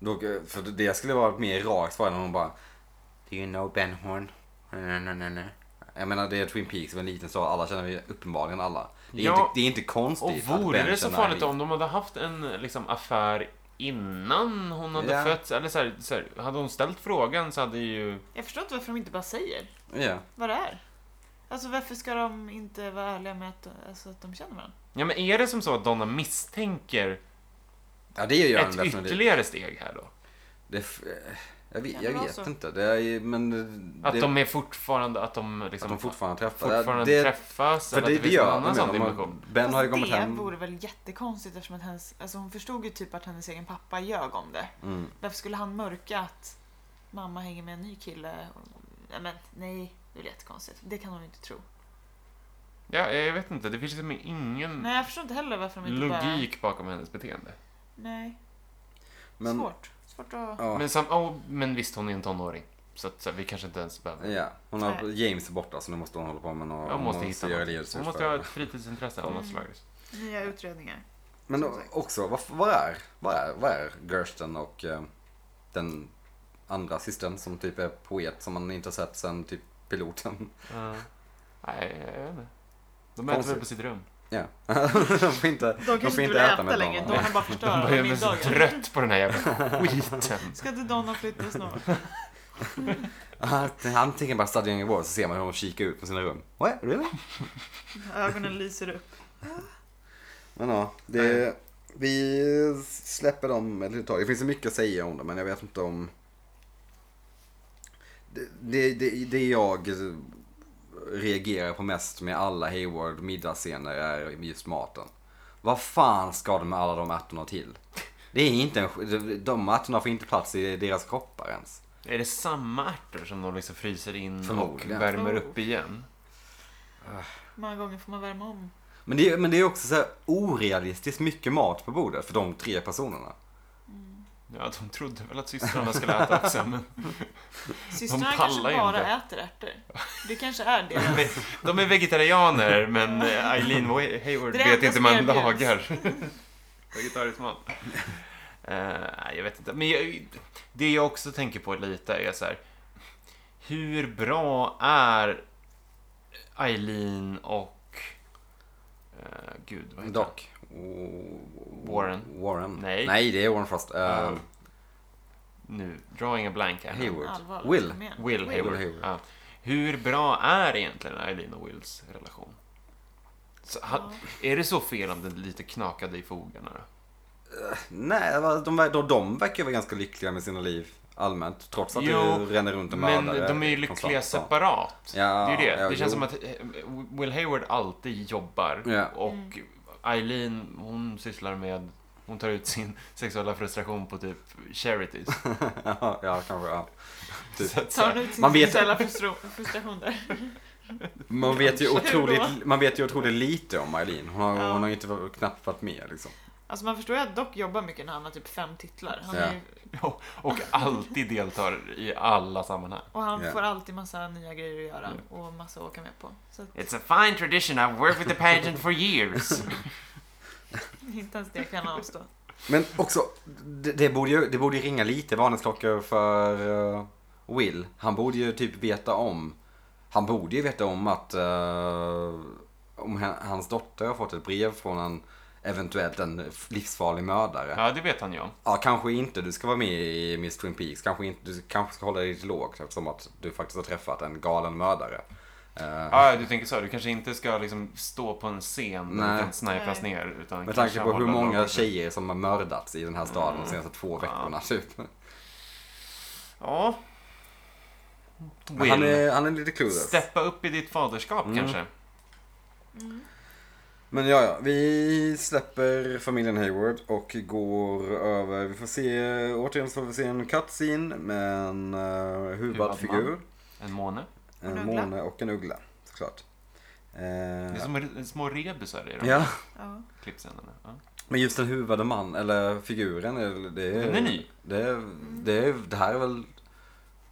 Då, eh, för det skulle vara ett mer rakt svar än hon bara... Do you know Ben Horn? Nej, nej, nej, nej. Jag menar, det är Twin Peaks, en liten stad. Alla känner vi uppenbarligen alla. Det är, Ja. inte, det är inte och konstigt att vore Ben det så känner farligt Eileen. om de hade haft en liksom, affär innan hon hade Ja. fötts? Eller så här, så här, hade hon ställt frågan så hade ju... Jag förstår inte varför de inte bara säger Ja. vad det är. Alltså varför ska de inte vara ärliga med att, alltså, att de känner varandra? Ja men är det som så att Donna misstänker ja, det gör jag ett definitivt. ytterligare steg här då? Det, f- eh, jag vet, Kan jag det vara vet så? inte. Det är, ju- men det, alltså- Att de är fortfarande, att de att liksom... de fortfarande träffas. fortfarande det, träffas För eller det, att det det finns någon gör annan jag menar, sån de. dimension. har- Ben har ju Fast kommit det hem. vore väl jättekonstigt eftersom att hennes, alltså hon förstod ju typ att hennes egen pappa ljög om det. Mm. Varför skulle han mörka att mamma hänger med en ny kille? Och, nej, men, nej, det är väl jättekonstigt. Det kan hon ju inte tro. Ja, jag vet inte, det finns liksom ingen Nej, jag förstår inte heller varför de inte bara... logik bakom hennes beteende. Nej, Men, svårt. Svårt att... ja. Men, sam, oh, men visst, hon är en tonåring. Så, att, så här, vi kanske inte ens behöver... Ja, hon har, James är borta så nu måste hon hålla på med något. Jag måste hon hitta göra något. livet Hon surt måste för ha henne. ett fritidsintresse av något slag. Nya utredningar. Men som sagt. också, vad, vad, är, vad, är, vad är Gersten och eh, den andra systern som typ är poet som man inte har sett sen typ piloten? Ja. nej, jag vet inte. De äter Konstigt. väl på sitt rum. Ja, <laughs> de får inte, De kanske får inte vill inte äta äta, med längre. Donna. De har bara De förstört börjar bli så middagen. trött på den <laughs> här jävla skiten. Ska inte Donna flytta snart? antingen bara stadion igår så ser man hur de kikar ut på sina rum. What? Really? Ögonen lyser upp. Men ja, det, vi släpper dem ett litet tag. Det finns så mycket att säga om det, men jag vet inte om... Det, det, det, det jag reagerar på mest med alla Hayward middagsscener är just maten. Vad fan ska de med alla de ärtorna till? Det är inte en, sk- de ärtorna får inte plats i deras kroppar ens. Är det samma ärtor som de liksom fryser in och Förmodligen. värmer upp igen? Många gånger får man värma om. Men det, men det är också så här orealistiskt mycket mat på bordet för de tre personerna. Ja, de trodde väl att systrarna skulle äta också, men Systrarna pallar kanske ju bara inte. äter ärtor. Det kanske är det. de är- de är vegetarianer, men eh, Eileen Wa- Hayward Det är det vet enda inte hur som man erbjuds. lagar <laughs> vegetarisk mat. Eh, nej, jag vet inte, men jag, det jag också tänker på lite är så här, hur bra är Eileen och, eh, gud, vad heter han? Doc. Och- Warren. Warren. Nej. Nej, det är Warren Frost. Eh, Ja. Nu, drawing a blank här. Hayward. Allvarligt. Will. Kom igen. Will Will Hayward. Hayward. Ja. Hur bra är egentligen Eileen och Wills relation? Så, han, Ja. Är det så fel om den lite knakade i fogarna då? Nej, va, de, ver- de, de verkar vara ganska lyckliga med sina liv allmänt. Trots att Jo, du ränner runt och Men mördare. de är ju konstant. lyckliga separat. Ja, det är ju det. ja, det jo. känns som att eh, Will Hayward alltid jobbar Ja. <laughs> och Eileen, hon sysslar med Hon tar ut sin sexuella frustration på typ <laughs> charities. ja, ja, kanske. Ja. Typ. Så att, så Tar här, du till Man Man vet- vet... frustration där? Man, vet ju Kanske otroligt, man vet ju otroligt lite om Eileen. Hon har, Ja. hon har ju inte varit- knappt varit med liksom. Alltså man förstår ju att Doc jobbar mycket när han har typ fem titlar. Han Ja. är ju, och, och alltid deltar i alla sammanhang. och han Ja. får alltid massa nya grejer att göra och massa att åka med på. Så att, It's a fine tradition, I've worked with the pageant <laughs> for years. inte ens det kan han avstå. Men också, det, det, borde ju, det borde ju ringa lite varningsklockor för eh, Will. Han borde ju typ veta om, han borde ju veta om att eh, om h- hans dotter har fått ett brev från en eventuellt en livsfarlig mördare. Ja. Ja, det vet han ju om. kanske inte du ska vara med i Miss Twin Peaks. Kanske inte, du kanske ska hålla dig lite lågt eftersom att du faktiskt har träffat en galen mördare. Eh, Ja, du tänker så. Du kanske inte ska liksom stå på en scen där Nej. du kan snipas Nej. ner. Utan Med kanske tanke på hur hålla många någon- tjejer som har mördats i den här staden Mm. de senaste två veckorna typ. Ja. Will, Han är, Mm. han är lite clueless. steppa upp i ditt faderskap kanske. Men ja, ja, vi släpper familjen Hayward och går över. Vi får se, återigen så får vi se en cutscene med en uh, Huvudman. huvudad figur. En måne. En En uggla. måne och en uggla, såklart. Eh, Det är som re- små rebusar i de ja, Ja. klippscenerna. Ja. men just den huvudade man, eller figuren, är- det är... Den är ny. Det, är, det, är, det här är väl...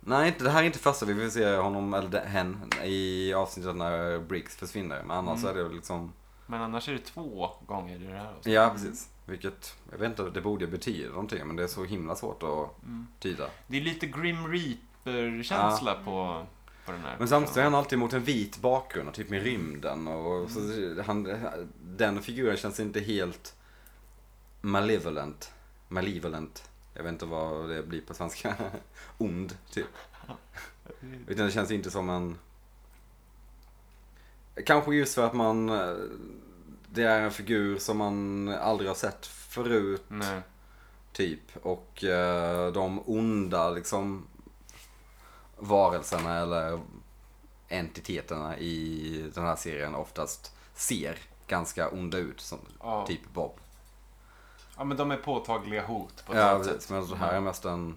Nej, inte- det här är inte första vi får se honom, eller de- hen, i avsnittet när Briggs försvinner. Men annars Mm. är det väl liksom... Men annars är det två gånger i det här avsnittet. Ja, precis. Vilket, jag vet inte, det borde betyda någonting, men det är så himla svårt att Mm. tyda. Det är lite Grim Reaper-känsla på, på den här. Men samtidigt står han alltid mot en vit bakgrund, och typ med rymden och så, han, den figuren känns inte helt malevolent. Malevolent. Jag vet inte vad det blir på svenska. <laughs> Ond, typ. Utan det känns inte som en... Kanske just för att man... eh, Det är en figur som man aldrig har sett förut. Nej. Typ. Och eh, de onda liksom varelserna eller entiteterna i den här serien oftast ser ganska onda ut. Som Ja. typ Bob. ja, men de är påtagliga hot på ett Ja, annat precis. sätt. Men det här är mest en,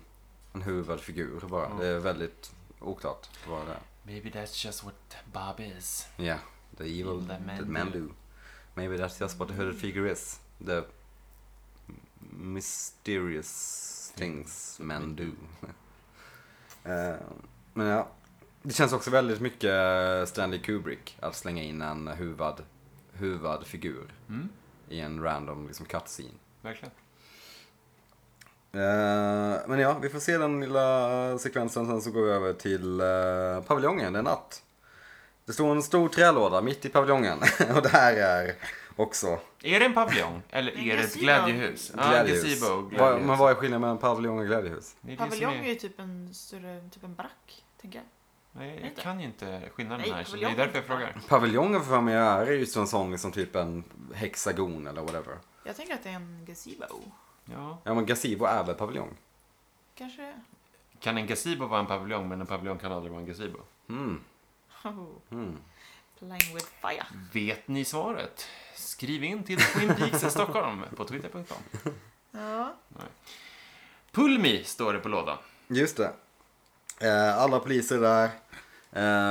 en huvudfigur bara. Mm. Det är väldigt oklart vad det är. Maybe that's just what Bob is. Ja, the evil Evil that men men do. do. Maybe that's just what the hooded figure is. The mysterious things men do. <laughs> Eh, men ja, det känns också väldigt mycket eh, Stanley Kubrick att slänga in en huvad, huvad figur Mm, i en random liksom, cutscene. verkligen. Eh, men ja, vi får se den lilla sekvensen. Sen så går vi över till eh, paviljongen. Det är natt. Det står en stor trälåda mitt i paviljongen. <laughs> och det här är också Är det <laughs> en paviljong? Eller Nej, är det ett gazebo. glädjehus? glädjehus. gazebo och Vad- Men glädjehus. vad är skillnaden mellan paviljong och glädjehus? Det är det som Paviljong är- är ju typ en större, typ en barack, tänker jag. Nej, jag Inte. kan ju inte skillnaden Nej, här. Så det är paviljong. därför jag frågar. Paviljongen för mig är just en sån liksom typ en hexagon eller whatever. Jag tänker att det är en gazebo. Ja. Ja men gazebo är väl paviljong? Kanske <laughs> det Kan en gazebo vara en paviljong, men en paviljong kan aldrig vara en gazebo? Mm. är. Oh, Mm. playing with fire. Vet ni svaret? Skriv in till Twin Peaks Stockholm på twitter.com. Ja. Pulmi står det på lådan. Just det. Eh, alla poliser är där.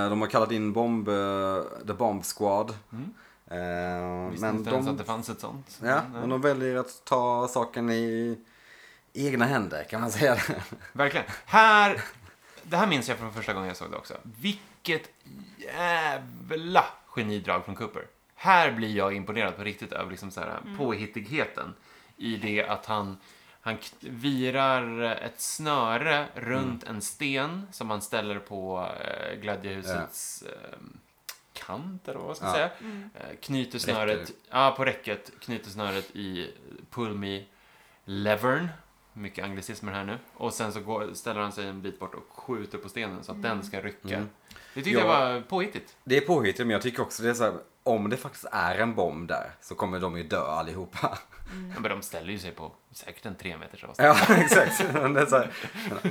Eh, de har kallat in bomb, eh, The Bomb Squad. Mm. Eh, Visste men inte ens de, att det fanns ett sånt. eh, ja, Nej. men de väljer att ta saken i egna händer kan man säga. Verkligen. Här, det här minns jag från första gången jag såg det också. Vilket jävla genidrag från Cooper. Här blir jag imponerad på riktigt över liksom så här påhittigheten i det att han, han k- virar ett snöre runt en sten som han ställer på eh, glädjehusets eh, kant, eller vad man ska Ja. säga. Mm. Eh, knyter snöret, Räcker. ja på räcket, knyter snöret i pull me levern. Mycket anglicismer här nu. Och sen så går, ställer han sig en bit bort och skjuter på stenen så att den ska rycka. Mm. Det tyckte Ja. jag var påhittigt. <laughs> Det är påhittigt men jag tycker också det är så här, om det faktiskt är en bomb där så kommer de ju dö allihopa. Ja, men de ställer ju sig på säkert en tre meters avstånd. Ja, <laughs> exakt. Men Det är så här,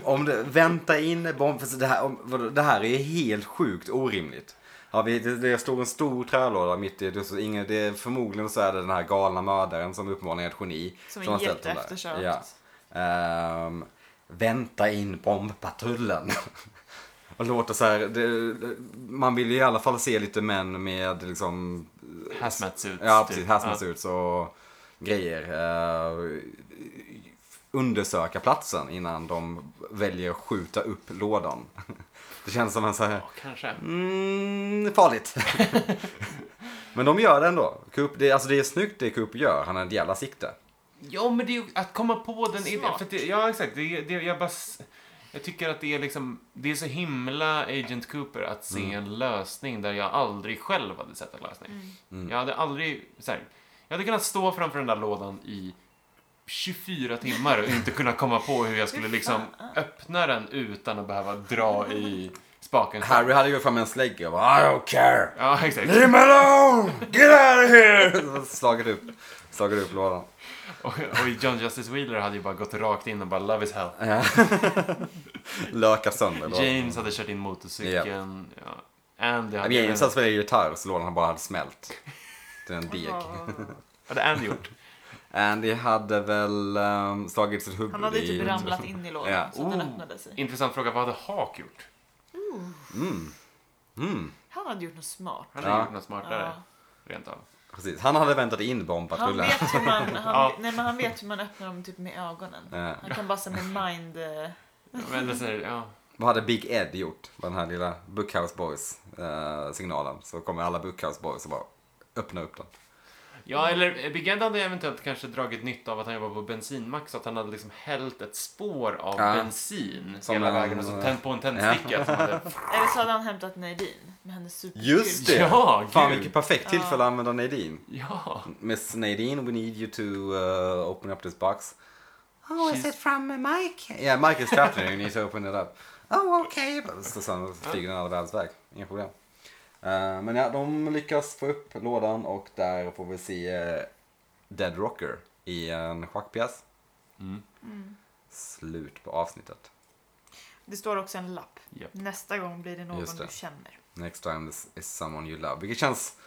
om det, vänta in bomb, för så det, här, om, vadå, det här är helt sjukt orimligt. Ja, vi, det, det stod en stor trälåda mitt i. Det, så ingen, det, förmodligen så är det den här galna mördaren som uppenbarligen är ett geni. Som har är ställt den där. jätteeftersökt. Ja. Ehm, vänta in bombpatrullen. <laughs> Och låter så här, det, man vill ju i alla fall se lite män med liksom Hazmat suits. typ. Ja, precis. Ja. Hazmat suits och grejer. Eh, undersöka platsen innan de väljer att skjuta upp lådan. <laughs> Det känns som en så här, Ja, kanske. mm, farligt. <laughs> Men de gör det ändå. Coop, det, alltså det är snyggt det Coop gör, han har ett jävla sikte. Ja, men det är ju att komma på den idén. Smart. För att det, ja, exakt. Det, det, jag bara... s- Jag tycker att det är liksom... Det är så himla Agent Cooper att se en lösning där jag aldrig själv hade sett en lösning. Jag hade aldrig... Så här, jag hade kunnat stå framför den där lådan i 24 timmar och inte kunna komma på hur jag skulle liksom öppna den utan att behöva dra i spaken. Harry hade gått fram med en slägga och bara I don't care. Ja, exakt. Leave me alone! Get out of here! <laughs> Slagit upp, slagit upp lådan. <laughs> Och, och John Justice Wheeler hade ju bara gått rakt in och bara love is hell. Ja. Lökat sönder lådan. James hade kört in motorcykeln. Ja. Andy hade... Men Eh. James hade spelat gitarr så lådan bara hade smält. Till en deg. hade <laughs> Andy gjort. Andy hade väl um, slagit sitt huvud Han hade i... typ ramlat in i lådan Ja. så att den Oh. öppnade sig. Intressant fråga, vad hade Hawk gjort? Mm, Han hade gjort något smart. Han hade Ja. gjort något smartare, rent av. precis. Han hade väntat in Han bombpatrullen. vet, hur man, han, Ja. nej, men han vet hur man öppnar dem typ med ögonen. Ja. Han kan bara säga med mind... eh, Men det är så här, ja. Vad hade Big Ed gjort? Var den här lilla Bookhouse Boys-signalen. eh, så kommer alla Bookhouse Boys och bara öppna upp den. ja, eller eh, Big Ed hade eventuellt kanske dragit nytta av att han jobbade på bensinmack så att han hade liksom hällt ett spår av Ja. bensin Som hela en- vägen och så tänt på en tändsticka. <laughs> som hade... Eller så hade han hämtat Nadine med hennes superstyrka. Just det! Ja, Fan gud. vilket perfekt tillfälle att använda Nadine. Ja, Miss Nadine, we need you to uh, open up this box. Oh, is She's- it from uh, Mike? Yeah, Mike is captain. You need to open it up. Oh, okay. Så sen flyger den alla världens väg. Inga problem. Eh, men ja, de lyckas få upp lådan och där får vi se eh, Dead Rocker i en schackpjäs. Mm. Slut på avsnittet. Det står också en lapp. Japp. Nästa gång blir det någon Just det. du känner. Next time this is someone you love. Vilket känns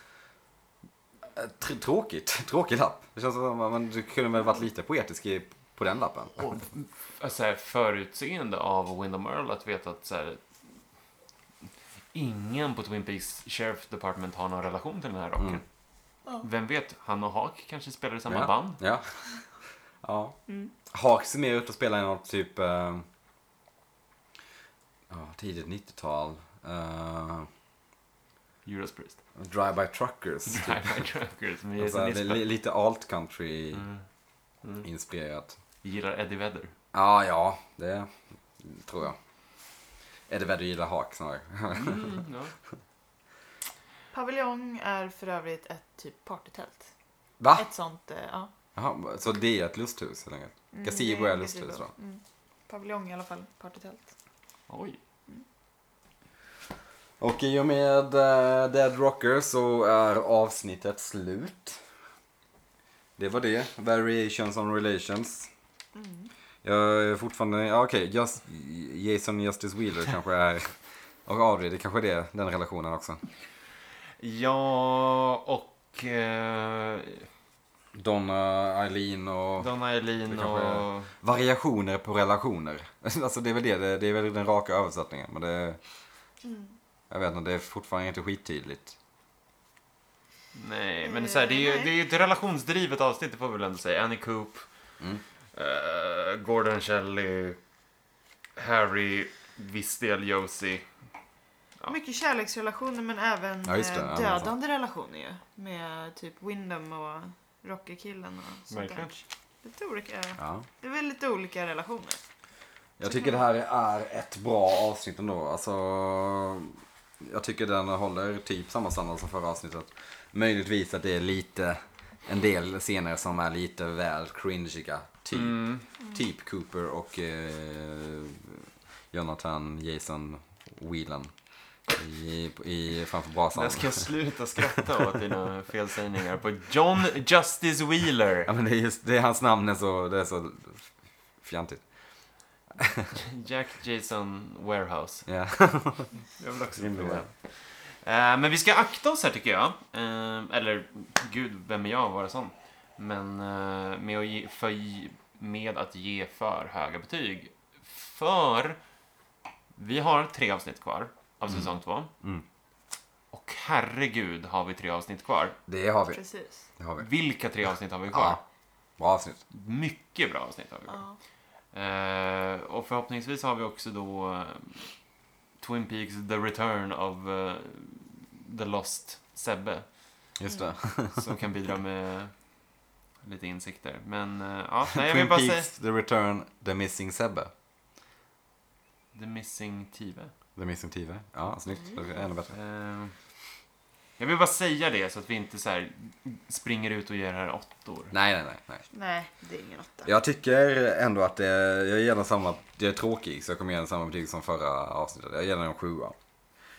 eh, tr- tråkigt. <laughs> Tråkig lapp. Det känns som att man du kunde väl varit lite poetisk i, på den lappen. och f- så här, förutseende av Windham Earl att veta att så här, ingen på Twin Peaks Sheriff Department har någon relation till den här rocken. Mm. Ja. Vem vet, han och Hawk kanske spelar i samma ja. band? Ja. ja. Mm. Hawk ser mer ut att spela i något typ... Eh, ja, tidigt 90-tal. Eh, <laughs> Judas Priest. Drive-by truckers. typ. Drive-by Truckers <laughs> med Alltså, Jason det är li- Isbell. lite alt country Mm. Mm. inspirerat. Gillar Eddie Vedder. Ja, ja, det tror jag. Eddie Vedder gillar Hawk snarare. Mm, <laughs> ja. Paviljong är för övrigt ett typ partytält. Va? Ett sånt, eh, ja. Jaha, så det är ett lusthus helt enkelt? Mm, Gazebo det är en lustigt, gazebo. så. Mm. Paviljong i alla fall, partytält. Oj. Och i och med eh, Dead Rocker så är avsnittet slut. Det var det. Variations on relations. Mm. Jag är fortfarande, ja okej, just, Jason Justice <laughs> Wheeler kanske är, och Audrey, det kanske är det, den relationen också. Ja, och eh, Donna, Eileen och Donna Eileen Det kanske och... variationer på relationer. <laughs> Alltså det är väl det, det, det är väl den raka översättningen. Men det, Mm. jag vet inte, det är fortfarande inte skittydligt. Nej, men så här, det, är ju, Nej. det är ju ett relationsdrivet avsnitt, det får vi väl ändå säga. Annie Coop, Mm. eh, Gordon Shelley, Harry, viss del Josie. Ja. Mycket kärleksrelationer men även Ja, just det. eh, Ja, men så. dödande relationer ju. Med typ Windham och Rocky-killen och sånt Verkligen. där. Lite olika, Ja. det är väl lite olika relationer. Jag tycker det här är ett bra avsnitt ändå. Alltså, jag tycker den håller typ samma standard som förra avsnittet. Möjligtvis att det är lite, en del scener som är lite väl cringiga. Typ, Mm. typ Cooper och eh, Jonathan Jason Whelan. I, i, framför brasan. Jag ska sluta skratta åt dina felsägningar på John Justice Wheeler. Ja men det är just, det är hans namn är så, det är så fjantigt. Jack Jason Warehouse. Ja. <laughs> Jag vill också Rimlig prova. väg. Eh, men vi ska akta oss här tycker jag. Eh, eller, gud, vem är jag att vara sån? Men eh, med, att ge, för, med att ge för höga betyg. För vi har tre avsnitt kvar av säsong två. Mm. Och herregud har vi tre avsnitt kvar. Det har vi. Precis. Det har vi. Vilka tre avsnitt har vi kvar? Ja. Bra avsnitt. Mycket bra avsnitt har vi kvar. Ja. Eh, och förhoppningsvis har vi också då eh, Twin Peaks The Return of eh, The Lost Sebbe Just det. som kan bidra med lite insikter. Men eh, ja, nej, jag vill Twin bara säga Peaks, The Return, The Missing Sebbe. The Missing Tive. The Missing TV. Ja, snyggt. Det är ännu bättre. Eh, jag vill bara säga det så att vi inte så här springer ut och ger det här åttor. Nej, nej, nej. nej. Nej, det är ingen åtta. Jag tycker ändå att det, jag ger den samma, jag är tråkig så jag kommer ge den samma betyg som förra avsnittet. Jag ger den en sjua.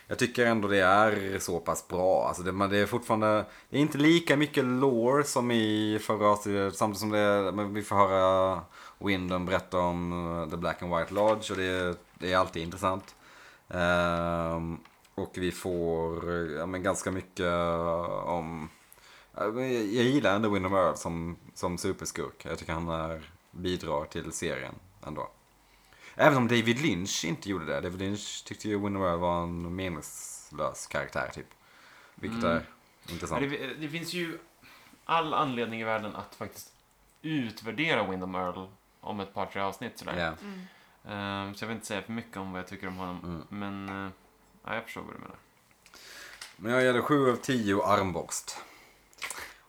Jag tycker ändå det är så pass bra. Alltså det, men det är fortfarande, det är inte lika mycket lore som i förra avsnittet. Samtidigt som det, är- men vi får höra Windham berätta om eh, The Black and White Lodge och det, det är alltid intressant. Ehm, och vi får eh, ja, men ganska mycket om Ja, men Jag jag gillar ändå Windham Earl som, som superskurk. Jag tycker han är, bidrar till serien ändå. Även om David Lynch inte gjorde det. David Lynch tyckte ju Windham Earl var en meningslös karaktär typ. Vilket Mm. är intressant. Men Det, det finns ju all anledning i världen att faktiskt utvärdera Windom Earl om ett par, tre avsnitt sådär. Ja. Mm. Ehm, så jag vill inte säga för mycket om vad jag tycker om honom. Mm. Men eh, ja, jag förstår vad du menar. Men jag ger det 7 av 10 armborst.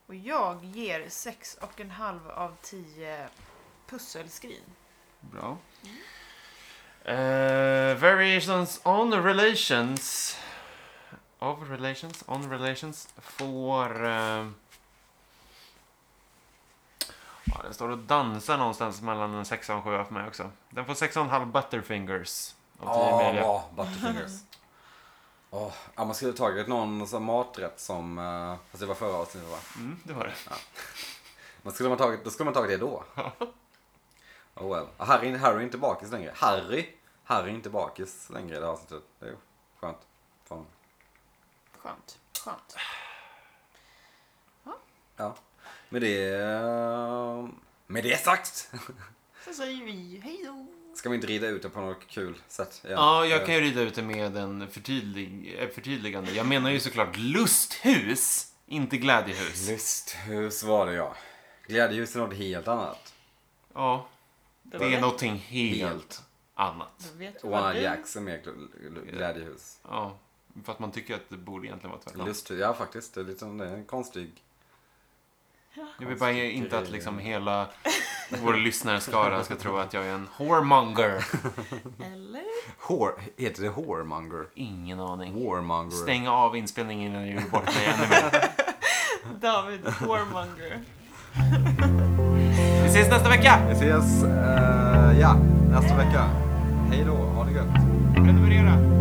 Och jag ger sex och en halv av tio pusselskrin. Bra. Eh, variations on relations. Of relations, on relations. Får... eh, ja, den står och dansar någonstans mellan en sexa och en sjua för mig också. Den får sex och en halv butterfingers. Av tio Ja, Emilia. bra. Ah, Butterfingers. <laughs> Åh, ja, man skulle ha tagit någon sån maträtt som, eh, fast det var förra avsnittet va? Mm, det var det. Man skulle man tagit, då skulle man tagit det då. Oh well. Harry, Harry är inte bakis längre. Harry! Harry är inte bakis längre i det här avsnittet. Det är ju skönt. Fan. Skönt. Skönt. Ja. Med det... eh, Med det sagt! <laughs> Sen säger vi hej då. Ska vi inte rida ut det på något kul sätt? igen? Eh, Ja, jag kan ju rida ut det med en förtydlig, eh, förtydligande. Jag menar ju såklart lusthus, inte glädjehus. Lusthus var det ja. Glädjehus är något helt annat. Ja, Då det är vet- någonting helt annat. Då vet vi vad One du... Jacks är mer gl- gl- glädjehus. Ja, för att man tycker att det borde egentligen vara tvärtom. Lusthus, ja faktiskt. Det är, lite, det är en konstig... Jag vill bara inte att liksom hela vår lyssnarskara ska tro att jag är en whoremonger. Eller? Hår, heter det whoremonger? Ingen aning. Warmonger. Stäng av inspelningen innan jag gör bort mig ännu mer. David Warmonger. Vi ses nästa vecka! Vi ses, eh, ja, nästa vecka. Hej då, ha det gött. Prenumerera!